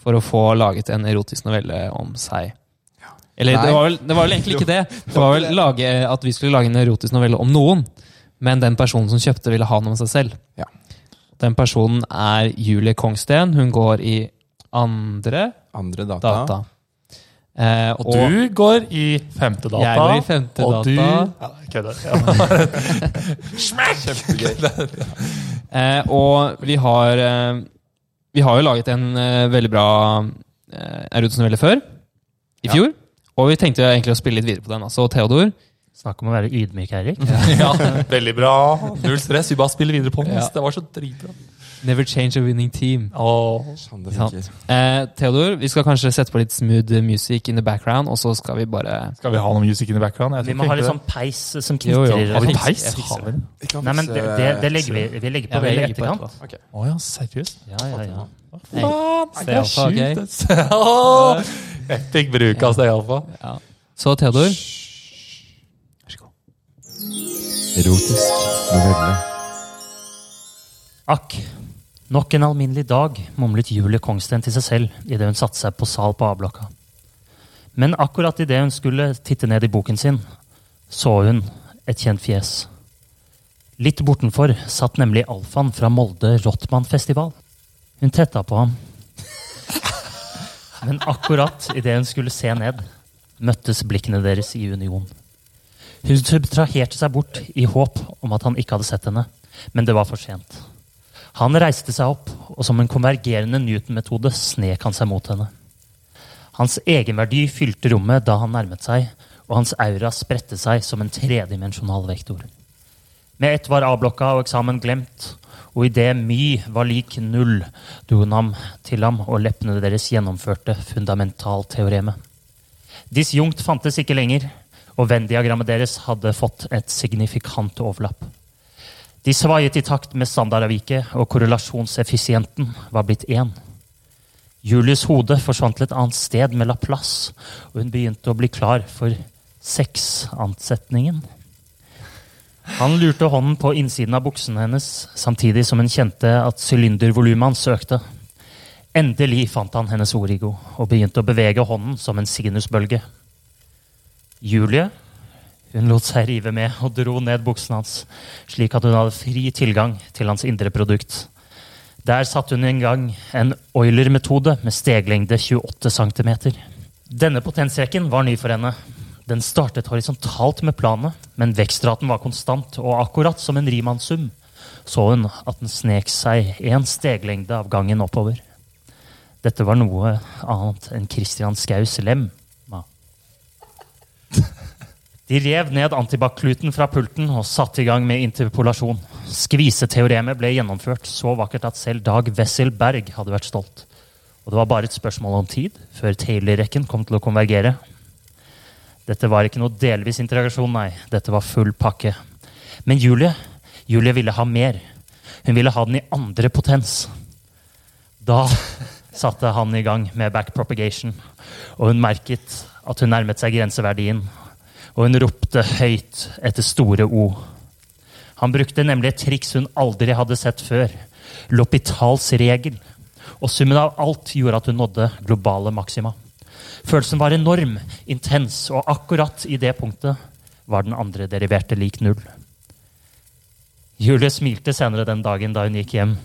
Speaker 1: for å få laget en erotisk novelle om seg. Eller det
Speaker 3: Nei.
Speaker 1: var, vel, det var vel egentlig ikke det. Det var vel lage, at vi skulle lage en erotisk novelle om noen, men den personen som kjøpte, ville ha den om seg selv.
Speaker 3: Ja.
Speaker 1: Den personen er Julie Kongsten. Hun går i andre
Speaker 3: Andre data.
Speaker 1: data. Eh,
Speaker 4: Og du går i femte data.
Speaker 1: Jeg går i femte
Speaker 4: og Du...
Speaker 1: data.
Speaker 4: Ja, nei, kødder. Ja.
Speaker 3: Kjempegøy.
Speaker 1: Eh, og vi har eh, Vi har jo laget en eh, veldig bra eh, Erudsen novelle før. I
Speaker 3: Ja.
Speaker 1: fjor. Og vi tenkte jo egentlig å spille litt videre på den. Altså, Theodor,
Speaker 2: Snakk om å være ydmyk, Eirik.
Speaker 4: Ja, veldig bra. Null stress. Vi bare spiller videre på den.
Speaker 1: Ja.
Speaker 4: ass. Det var så dritbra.
Speaker 1: never change a winning team.
Speaker 4: Åh.
Speaker 3: Sånn det funker.
Speaker 1: Eh, Theodor, vi skal kanskje sette på litt smooth music in the background, og så skal vi bare
Speaker 4: Skal vi ha noe music in the background? Jeg
Speaker 2: Vi
Speaker 4: tror
Speaker 2: må ha
Speaker 4: ikke
Speaker 2: litt
Speaker 4: det.
Speaker 2: sånn peis som
Speaker 1: Jo, jo.
Speaker 2: knitrer.
Speaker 4: Har vi
Speaker 1: Jeg fikser-
Speaker 4: peis?
Speaker 1: jeg fikser
Speaker 4: Har vi det?
Speaker 3: Vi kan eh,
Speaker 2: Nei, men
Speaker 3: fikse-
Speaker 2: det, det, det legger vi, vi legger på det i
Speaker 1: legger på
Speaker 2: etterkant.
Speaker 1: etterpå.
Speaker 4: Å ja, seriøst?
Speaker 2: Ja, ja, ja.
Speaker 1: Hey.
Speaker 4: Faen,
Speaker 1: Se
Speaker 4: det er
Speaker 1: alfa, ok?
Speaker 4: sjukt. ass. Åh, Epic bruk av Stealfa.
Speaker 1: Ja. Så Theodor Vær så god.
Speaker 3: Erotisk novelle.
Speaker 2: Akk. Nok en alminnelig dag, mumlet Julie Kongsten til seg selv idet hun satte seg på sal på A-blokka. Men akkurat idet hun skulle titte ned i boken sin, så hun et kjent fjes. Litt bortenfor satt nemlig Alfan fra Molde Rottmannfestival. Hun tetta på ham. Men akkurat idet hun skulle se ned, møttes blikkene deres i union. Hun subtraherte seg bort i håp om at han ikke hadde sett henne, men det var for sent. Han reiste seg opp, og som en konvergerende Newton-metode snek han seg mot henne. Hans egenverdi fylte rommet da han nærmet seg, og hans aura spredte seg som en tredimensjonal vektor. Med ett var A-blokka og eksamen glemt, og idet my var lik null, dro hun ham til ham, og leppene deres gjennomførte fundamentalteoremet. Disjunkt fantes ikke lenger, og Venn-diagrammet deres hadde fått et signifikant overlapp. De svaiet i takt med standardavviket, og korrelasjonseffisienten var blitt én. Julius hode forsvant til et annet sted med Laplace, og hun begynte å bli klar for sexansetningen. Han lurte hånden på innsiden av buksen hennes, samtidig som hun kjente at sylindervolumet hans økte. Endelig fant han hennes origo og begynte å bevege hånden som en sinusbølge. Julie hun lot seg rive med og dro ned buksen hans, slik at hun hadde fri tilgang til hans indre produkt. Der satte hun i gang en Euler-metode med steglengde 28 cm. Denne potensrekken var ny for henne. Den startet horisontalt med planet, men vekstraten var konstant, og akkurat som en Riemann-sum så hun at den snek seg én steglengde av gangen oppover. Dette var noe annet enn Christian Skaus lemma. De rev ned antibac-kluten fra pulten og satte i gang med interpolasjon. Skviseteoremet ble gjennomført så vakkert at selv Dag Wessel Berg hadde vært stolt. Og det var bare et spørsmål om tid før Taylor-rekken kom til å konvergere. Dette var ikke noe delvis interrogasjon, nei. Dette var full pakke. Men Julie, Julie ville ha mer. Hun ville ha den i andre potens. Da satte han i gang med backpropagation, og hun merket at hun nærmet seg grenseverdien. Og hun ropte høyt etter store O. Han brukte nemlig et triks hun aldri hadde sett før. Lopitals regel. Og summen av alt gjorde at hun nådde globale maksima. Følelsen var enorm, intens, og akkurat i det punktet var den andre deriverte lik null. Julie smilte senere den dagen da hun gikk hjem.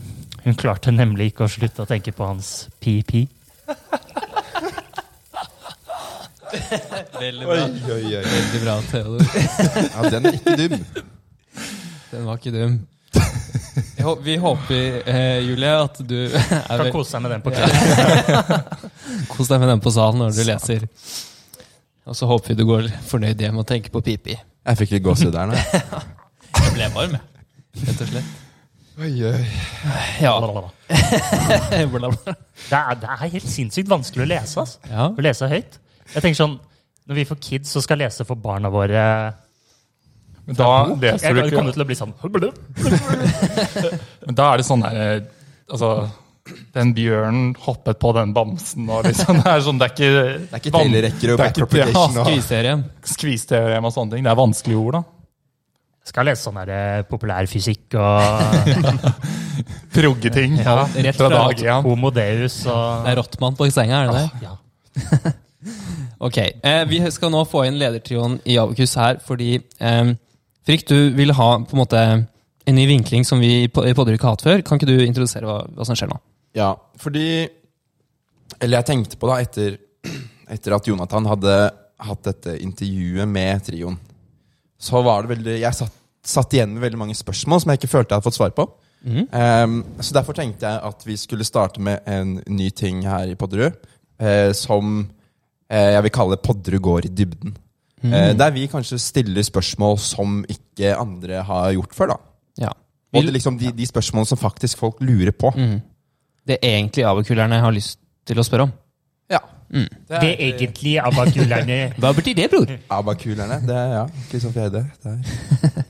Speaker 2: Hun klarte nemlig ikke å slutte å tenke på hans pi-pi.
Speaker 1: Veldig
Speaker 3: Oi,
Speaker 1: bra.
Speaker 3: oi, oi.
Speaker 1: Veldig bra, Theodor.
Speaker 3: Ja, den er ikke dum.
Speaker 1: Den var ikke dum. Jeg hå- Vi håper, eh, Julie, at du er
Speaker 2: Kan
Speaker 1: vel-
Speaker 2: kose seg med den på kvelden.
Speaker 1: Kos deg med den på salen når du leser. Og så håper vi du går fornøyd hjem og tenker på pipi.
Speaker 3: Jeg fikk litt gåsehud der nå.
Speaker 1: Jeg ble varm, jeg. Rett og slett.
Speaker 3: Oi, oi.
Speaker 1: Ja.
Speaker 2: Det
Speaker 1: Blablabla.
Speaker 2: er, det er helt sinnssykt vanskelig å lese. ass.
Speaker 1: ja.
Speaker 2: Å lese høyt. Jeg tenker sånn, Når vi får kids, så skal jeg lese for barna våre.
Speaker 4: Men da
Speaker 2: Jeg
Speaker 4: leser du ikke
Speaker 2: kommer til å bli sånn
Speaker 4: Men da er det sånn der eh, Altså, den bjørnen hoppet på den bamsen og liksom Det er sånn, det er ikke
Speaker 3: Det er ikke
Speaker 4: van-
Speaker 3: Taylor-rekker og
Speaker 4: det er ikke-
Speaker 3: backpropagation og-
Speaker 1: Skviserien.
Speaker 4: Ja, skvisteorem og sånne ting. Det er vanskelige ord, da.
Speaker 2: Skal lese sånn der, eh, populærfysikk og
Speaker 4: Proggeting.
Speaker 2: Ja,
Speaker 1: rett
Speaker 4: fra
Speaker 1: fra
Speaker 4: dag én.
Speaker 2: Homo deus og
Speaker 1: Det er Rottmann på senga, er det det?
Speaker 2: ja.
Speaker 1: Ok. Eh, vi skal nå få inn ledertrioen i Abokus her, fordi eh, Frikk, du vil ha på en måte en ny vinkling som vi i po- i Podder ikke har hatt før. Kan ikke du introdusere hva, hva som skjer nå?
Speaker 3: Ja, fordi Eller jeg tenkte på da etter, etter at Jonathan hadde hatt dette intervjuet med trioen. Så var det veldig Jeg satt, satt igjen med veldig mange spørsmål som jeg ikke følte jeg hadde fått svar på. Ehm, så derfor tenkte jeg at vi skulle starte med en ny ting her i Podderud. eh, som eh, jeg vil kalle Podderud går i dybden. Eh, der vi kanskje stiller spørsmål som ikke andre har gjort før. da
Speaker 1: Ja.
Speaker 3: Og det, liksom de, de spørsmålene som faktisk folk lurer på.
Speaker 1: mm. Det er egentlig abokulerne har lyst til å spørre om.
Speaker 3: Ja. er-
Speaker 2: Det egentlige abakulerne
Speaker 1: Hva betyr det, bror?
Speaker 3: Abakulerne. Det er ja, Kristian Fjerde. Det er.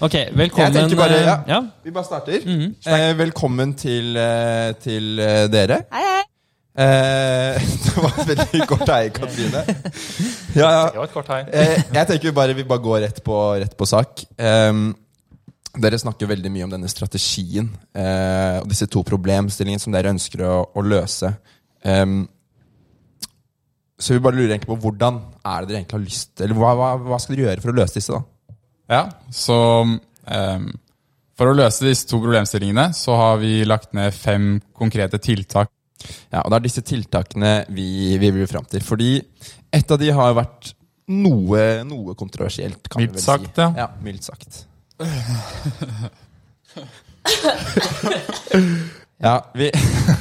Speaker 1: Ok,
Speaker 3: Jeg
Speaker 1: velkommen.
Speaker 3: tenker bare,
Speaker 1: eh,
Speaker 3: ja.
Speaker 1: ja.
Speaker 3: Vi bare starter.
Speaker 5: Mhm.
Speaker 3: eh, velkommen til, eh, til eh, dere.
Speaker 5: Hei, hei.
Speaker 3: Eh, det var et veldig kort hei, Katrine. Ja, ja.
Speaker 4: Det var et kort tegn.
Speaker 3: Eh, jeg tenker vi bare, vi bare går rett på, rett på sak. Ehm, dere snakker veldig mye om denne strategien eh, og disse to problemstillingene som dere ønsker å, å løse. Ehm, så vi bare lurer egentlig på hvordan er det dere egentlig har lyst Eller hva, hva, hva skal dere gjøre for å løse disse? da?
Speaker 6: Ja, så ehm, for å løse disse to problemstillingene så har vi lagt ned fem konkrete tiltak.
Speaker 3: Ja, og Det er disse tiltakene vi, vi vil fram til. Fordi et av de har vært noe, noe kontroversielt. kan
Speaker 6: Mildt
Speaker 3: vi vel
Speaker 6: sagt,
Speaker 3: si.
Speaker 6: ja.
Speaker 3: ja. Mildt sagt. ja, vi,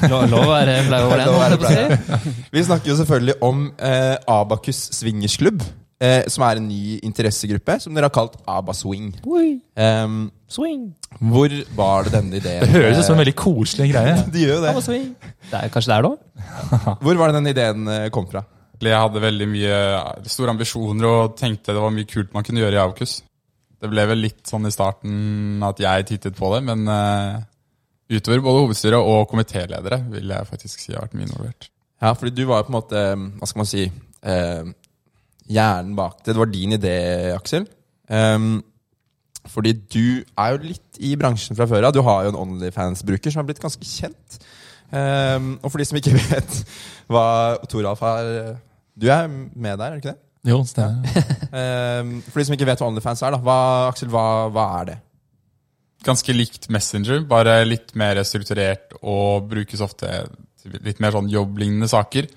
Speaker 1: Lov, lov å være flau over den.
Speaker 3: Lov å
Speaker 1: holdt
Speaker 3: være
Speaker 1: jeg på å si.
Speaker 3: vi snakker jo selvfølgelig om eh, Abakus Swingersklubb. Eh, som er en ny interessegruppe som dere har kalt Abaswing. Em,
Speaker 1: Swing.
Speaker 3: hvor var det denne ideen eh,
Speaker 4: Det høres ut som en veldig koselig greie.
Speaker 3: De gjør jo
Speaker 1: Abba
Speaker 3: det.
Speaker 1: swing. Det er kanskje der, da?
Speaker 3: Hvor var det denne ideen eh, kom fra?
Speaker 6: Jeg hadde veldig mye store ambisjoner og tenkte det var mye kult man kunne gjøre i Aukus. Det ble vel litt sånn i starten at jeg tittet på det, men eh, utover både hovedstyret og komitéledere vil jeg faktisk si har vært mye involvert.
Speaker 3: Ja, fordi du var jo på en måte eh, Hva skal man si eh, Hjernen bak det. Det var din idé, Aksel. Ehm, fordi du er jo litt i bransjen fra før av. Du har jo en Onlyfans-bruker som har blitt ganske kjent. Ehm, og for de som ikke vet hva Toralf har Du er med der, er du ikke det?
Speaker 4: Jo, stemmer.
Speaker 3: Ehm, for de som ikke vet hva Onlyfans er, da. Hva, Aksel, hva, hva er det?
Speaker 6: Ganske likt Messenger, bare litt mer strukturert og brukes ofte til litt mer sånn jobblignende saker.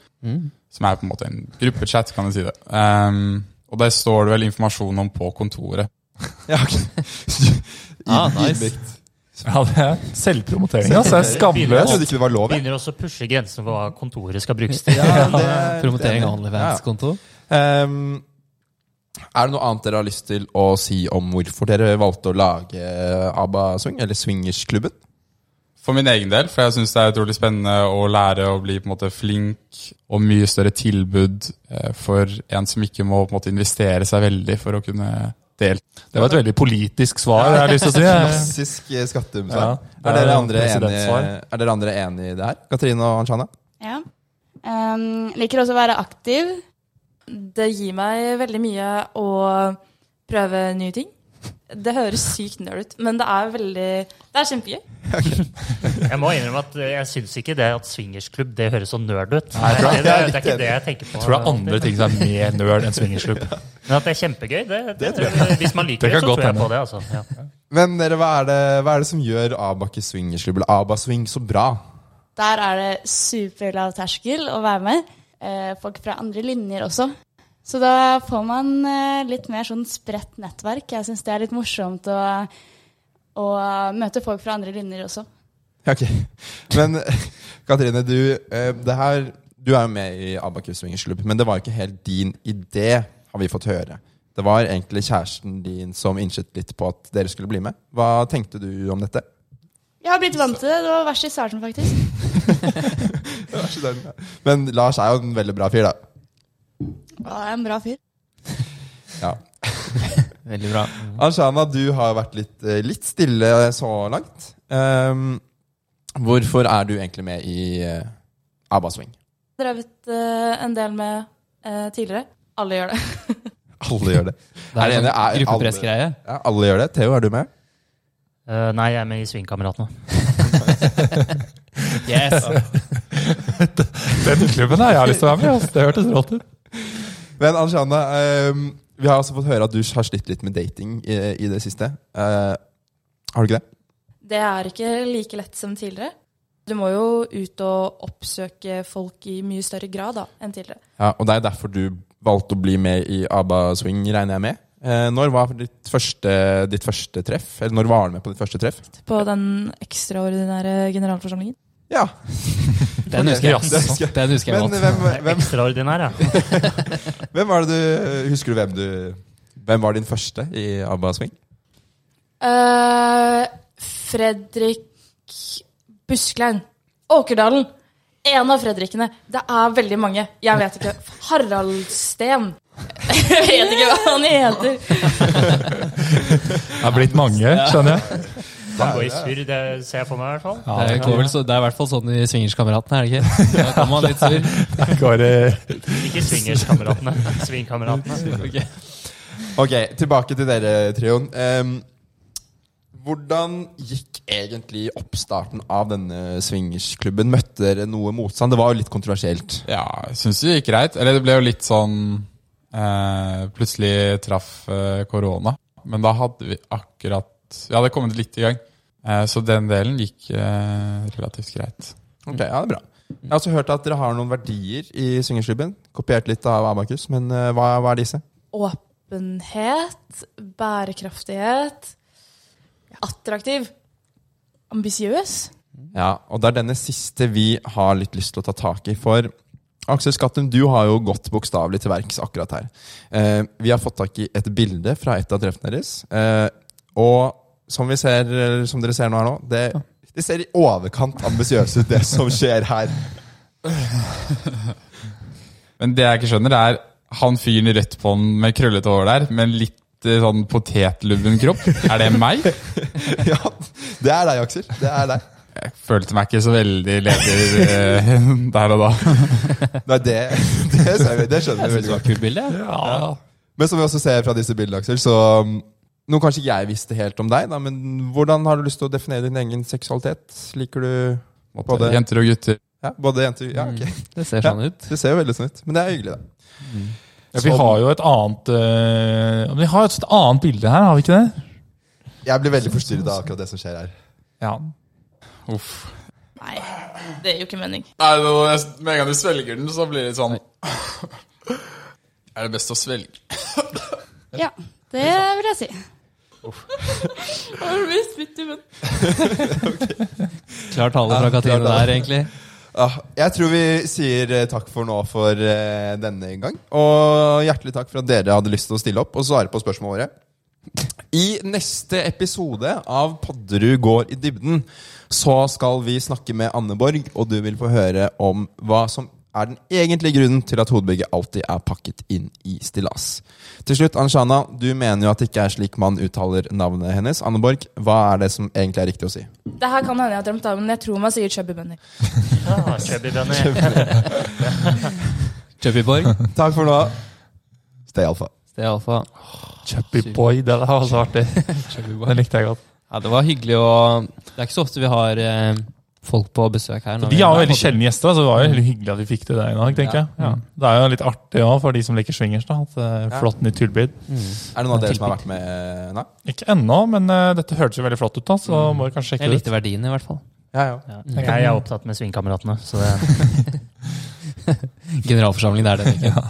Speaker 6: Som er på en måte en gruppechat, kan du si det. Ehm, og der står det vel informasjon om på kontoret.
Speaker 3: Ja, ok.
Speaker 1: Ah, nice.
Speaker 3: Ydmykt.
Speaker 4: Ja, det er selvpromotering. Altså, det er
Speaker 3: Jeg
Speaker 4: skamløst.
Speaker 3: trodde ikke det var lov. jeg.
Speaker 2: begynner også å pushe grensen for hva kontoret skal brukes til.
Speaker 3: Ja, det-
Speaker 1: Promotering av
Speaker 3: Ja.
Speaker 1: OnlyFans-konto.
Speaker 3: Ehm, er det noe annet dere har lyst til å si om hvorfor dere valgte å lage ABBA Swing, eller Swingersklubben?
Speaker 6: For min egen del, for jeg syns det er utrolig spennende å lære å bli på en måte flink og mye større tilbud eh, for en som ikke må på en måte investere seg veldig for å kunne delta.
Speaker 4: Det var et veldig politisk svar, jeg har lyst til å si. Jeg-
Speaker 3: Klassisk eh,
Speaker 4: Ja,
Speaker 3: skattebesvar.
Speaker 4: det er
Speaker 3: er, dere andre enige,
Speaker 4: presidentsvar.
Speaker 3: er dere andre enige i det her? Katrine og Anshana?
Speaker 5: Ja. Ehm, liker også å være aktiv.
Speaker 7: Det gir meg veldig mye å prøve nye ting. Det høres sykt nerd ut, men det er veldig Det er kjempegøy.
Speaker 2: Jeg må innrømme at eh, jeg syns ikke det at swingersklubb det høres så nerd ut.
Speaker 4: Nei, jeg tror
Speaker 2: det,
Speaker 4: jeg-
Speaker 2: det, det er
Speaker 4: jeg er litt
Speaker 2: ikke det jeg tenker på.
Speaker 4: Jeg tror det er andre ting som er mer nerd enn swingersklubb.
Speaker 2: Men at det er kjempegøy, det, det, tror jeg. Hvis man liker
Speaker 4: Det
Speaker 2: det,
Speaker 4: kan
Speaker 2: så
Speaker 4: godt
Speaker 2: tror jeg
Speaker 4: hende.
Speaker 2: på det. altså. Ja.
Speaker 3: Men dere, hva er det, hva er det som gjør Abakke swingersklubb eller Aba Swing så bra?
Speaker 5: Der er det superlav terskel å være med. Eh, folk fra andre linjer også. Så da får man eh, litt mer sånn spredt nettverk. Jeg syns det er litt morsomt å, å møte folk fra andre linjer også.
Speaker 3: Ja, ok. Men Katrine, du, eh, det her, du er jo med i Abakus swingersklubb, men det var jo ikke helt din idé, har vi fått høre. Det var egentlig kjæresten din som innsett litt på at dere skulle bli med. Hva tenkte du om dette?
Speaker 5: Jeg har blitt vant til det. Det var verst i starten, faktisk.
Speaker 3: Men Lars er jo en veldig bra fyr, da.
Speaker 5: Å, jeg er en bra fyr.
Speaker 3: Ja.
Speaker 1: Veldig bra.
Speaker 3: Arshana, du har vært litt, eh, litt stille så langt. Ehm, hvorfor er du egentlig med i eh, Abba Swing?
Speaker 7: Drevet eh, en del med eh, tidligere. Alle gjør det.
Speaker 3: Alle gjør det.
Speaker 1: Det er
Speaker 3: Er det
Speaker 1: en
Speaker 3: det er
Speaker 1: sånn
Speaker 3: alle-
Speaker 1: gruppepressgreie.
Speaker 3: Ja, alle gjør det. Theo, er du med?
Speaker 2: Eh, nei, jeg er med i Svingkameratene.
Speaker 1: Yes.
Speaker 4: Den klubben her, jeg har lyst til å være med. ass. Det hørtes rått ut.
Speaker 3: Men Anshana, ehm, vi har også fått høre at du har slitt litt med dating i, i det siste. Eh, har du ikke det?
Speaker 7: Det er ikke like lett som tidligere. Du må jo ut og oppsøke folk i mye større grad da, enn tidligere.
Speaker 3: Ja, Og det er derfor du valgte å bli med i ABBA Swing, regner jeg med. Eh, når var ditt første, ditt første treff? Eller når var du med på ditt første treff?
Speaker 7: På den ekstraordinære generalforsamlingen.
Speaker 3: Ja,
Speaker 1: Den husker
Speaker 4: Ja, det
Speaker 1: jeg. Den husker jeg
Speaker 3: Men
Speaker 1: godt.
Speaker 3: hvem,
Speaker 2: Det er
Speaker 3: hvem,
Speaker 2: Ekstraordinær, ja.
Speaker 3: hvem var det du Husker du hvem du Hvem var din første i ABBA Swing?
Speaker 7: Eh, Fredrik Busklein. Åkerdalen. En av Fredrikene. Det er veldig mange. Jeg vet ikke. Harald Steen. Jeg vet ikke hva han heter.
Speaker 4: Det er blitt mange, skjønner jeg.
Speaker 2: Man går i surr, det altså. ser jeg for meg i hvert fall.
Speaker 1: Det er, går vel så, det er i hvert fall sånn i Swingerskameratene, er det ikke? Da kommer man litt sur.
Speaker 4: Det går eh, i
Speaker 2: Ikke Swingerskameratene. Svingkameratene.
Speaker 1: Ok.
Speaker 3: Ok, tilbake til dere, Trioen. Ehm, hvordan gikk egentlig oppstarten av denne swingersklubben? Møtte dere noe motstand? Det var jo litt kontroversielt.
Speaker 6: Ja, jeg syns det gikk greit. Eller det ble jo litt sånn eh, Plutselig traff eh, korona. Men da hadde vi akkurat Vi hadde kommet litt i gang. Eh, så den delen gikk eh, relativt greit.
Speaker 3: Ok, ja, det er bra. Jeg har også hørt at dere har noen verdier i swingersklubben. Kopiert litt av Abakus, men eh, hva, hva er disse?
Speaker 7: Åpenhet. Bærekraftighet. Attraktiv. Ambisiøs.
Speaker 3: Ja, og det er denne siste vi har litt lyst til å ta tak i. For Aksel Skattum, du har jo gått bokstavelig til verks akkurat her. Eh, vi har fått tak i et bilde fra et av treffene deres. Eh, og som, vi ser, eller som dere ser nå her nå, det, det ser i overkant ambisiøst ut, det som skjer her.
Speaker 6: Men det jeg ikke skjønner, er han fyren rett på den med krøllete hår der, med en litt eh, sånn potetlubben kropp. Er det meg?
Speaker 3: ja, det er deg, Aksel. Det er deg.
Speaker 6: Jeg følte meg ikke så veldig leder eh, der og da.
Speaker 3: Nei, det, det, ser vi, det skjønner vi veldig godt.
Speaker 1: Kult bilde. ja.
Speaker 3: Men som vi også ser fra disse bildene, Aksel, så um, noe kanskje ikke jeg visste helt om deg, da, men hvordan har du lyst til å definere din egen seksualitet? Liker du både,
Speaker 6: Jenter og gutter.
Speaker 3: ja, både jenter Ja, ok.
Speaker 4: Mm.
Speaker 1: Det ser sånn ut.
Speaker 3: Det ser jo veldig sånn ut, men det er hyggelig, da.
Speaker 4: Ja, vi har jo et annet eh, men Vi har jo et annet bilde her, har vi ikke det?
Speaker 3: Jeg blir veldig forstyrret av akkurat det som skjer her.
Speaker 4: Ja.
Speaker 6: Uff.
Speaker 7: Nei, det gir jo ikke mening.
Speaker 6: Nei, det, var- jeg, Med en gang du svelger den, så blir det litt sånn Er det best å svelge?
Speaker 5: Ja, det vil jeg si.
Speaker 7: Har du blitt spytt i munnen?
Speaker 1: Klar tale fra Katrine
Speaker 3: klar tale.
Speaker 1: der, egentlig.
Speaker 3: Ah, jeg tror vi sier eh, takk for nå for eh, denne gang. Og hjertelig takk for at dere hadde lyst til å stille opp og svare på spørsmålene våre. I neste episode av Podderud går i dybden så skal vi snakke med Anne Borg, og du vil få høre om hva som er den egentlige grunnen til at hodebygget alltid er pakket inn i stillas. Til slutt, Anshana, du mener jo at det ikke er slik man uttaler navnet hennes. Anne Borg, hva er det som egentlig er riktig å si?
Speaker 7: Det her kan hende jeg har drømt av, men jeg tror man sier chubby bunny.
Speaker 2: Ah, chubby bunny.
Speaker 1: Chubby Borg. Det
Speaker 3: Takk for nå. Stay alfa.
Speaker 1: er i alle fall-
Speaker 4: Chubby boy, det der var så artig. Den likte jeg godt.
Speaker 1: Ja, det var hyggelig å Det er ikke så ofte vi har eh, folk på besøk her. når
Speaker 4: De
Speaker 1: vi-
Speaker 4: har jo veldig sjelden gjester, da, så det var jo veldig hyggelig at vi fikk til det i dag. tenker jeg. Ja. Det er jo litt artig òg for de som liker swingers. da, at eh, Flott nytt tilbud.
Speaker 1: Mm.
Speaker 3: Er det noen av dere som har vært med? Nei?
Speaker 4: Ikke ennå, men eh, dette hørtes jo veldig flott ut, da, så må vi kanskje
Speaker 1: Mm. Jeg
Speaker 4: sjekke det
Speaker 1: likte
Speaker 4: ut.
Speaker 1: verdiene, i hvert fall.
Speaker 3: Ja, ja.
Speaker 2: Jeg er opptatt med svingkameratene, så det,
Speaker 1: Generalforsamling, det er det. Ikke?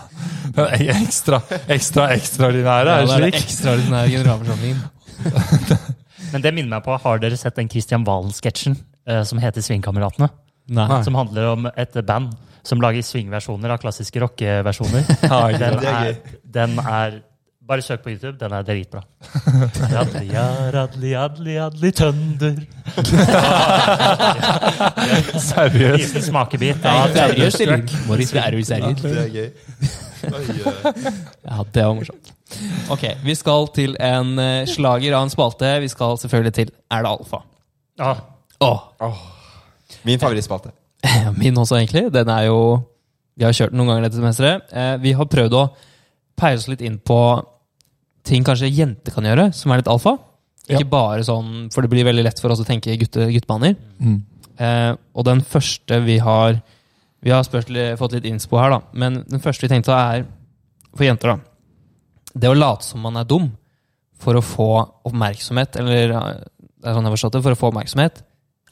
Speaker 4: Den ekstra, ekstra ekstraordinære er
Speaker 1: det er
Speaker 4: slik.
Speaker 1: det ekstraordinære generalforsamlingen.
Speaker 2: Men det minner meg på, har dere sett den Christian Valen-sketsjen eh, som heter Svingkameratene?
Speaker 1: Nei.
Speaker 2: Som handler om et band som lager svingversjoner av klassiske rockeversjoner.
Speaker 4: Ja, ikke
Speaker 2: Den
Speaker 4: sant.
Speaker 2: er, den er Bare søk på YouTube, den er dritbra. Radlia, radli, adli, adli, tønder.
Speaker 4: Seriøst.
Speaker 2: Liten smakebit.
Speaker 1: Ja,
Speaker 2: av
Speaker 1: seriøst,
Speaker 2: Tønder.
Speaker 1: Erik. Moritz, det er jo seriøst.
Speaker 3: Det er gøy.
Speaker 1: Ja, det var morsomt. Ok, vi skal til en eh, slager av en spalte. Vi skal selvfølgelig til Er det alfa?
Speaker 2: Ja,
Speaker 1: Åh,
Speaker 3: Min favorittspalte.
Speaker 1: Ja, Min også, egentlig. Den er jo Vi har kjørt den noen ganger dette semesteret. Eh, vi har prøvd å peile oss litt inn på ting kanskje jenter kan gjøre, som er litt alfa. Ikke
Speaker 4: Ja.
Speaker 1: bare sånn, For det blir veldig lett for oss å tenke gutte, guttebaner.
Speaker 4: Mm.
Speaker 1: Eh, og den første vi har Vi har spurt, li- fått litt innspo her, da. Men den første vi tenkte er for jenter, da. Det å late som man er dum for å få oppmerksomhet, eller eh, det er sånn jeg har forstått det, for å få oppmerksomhet,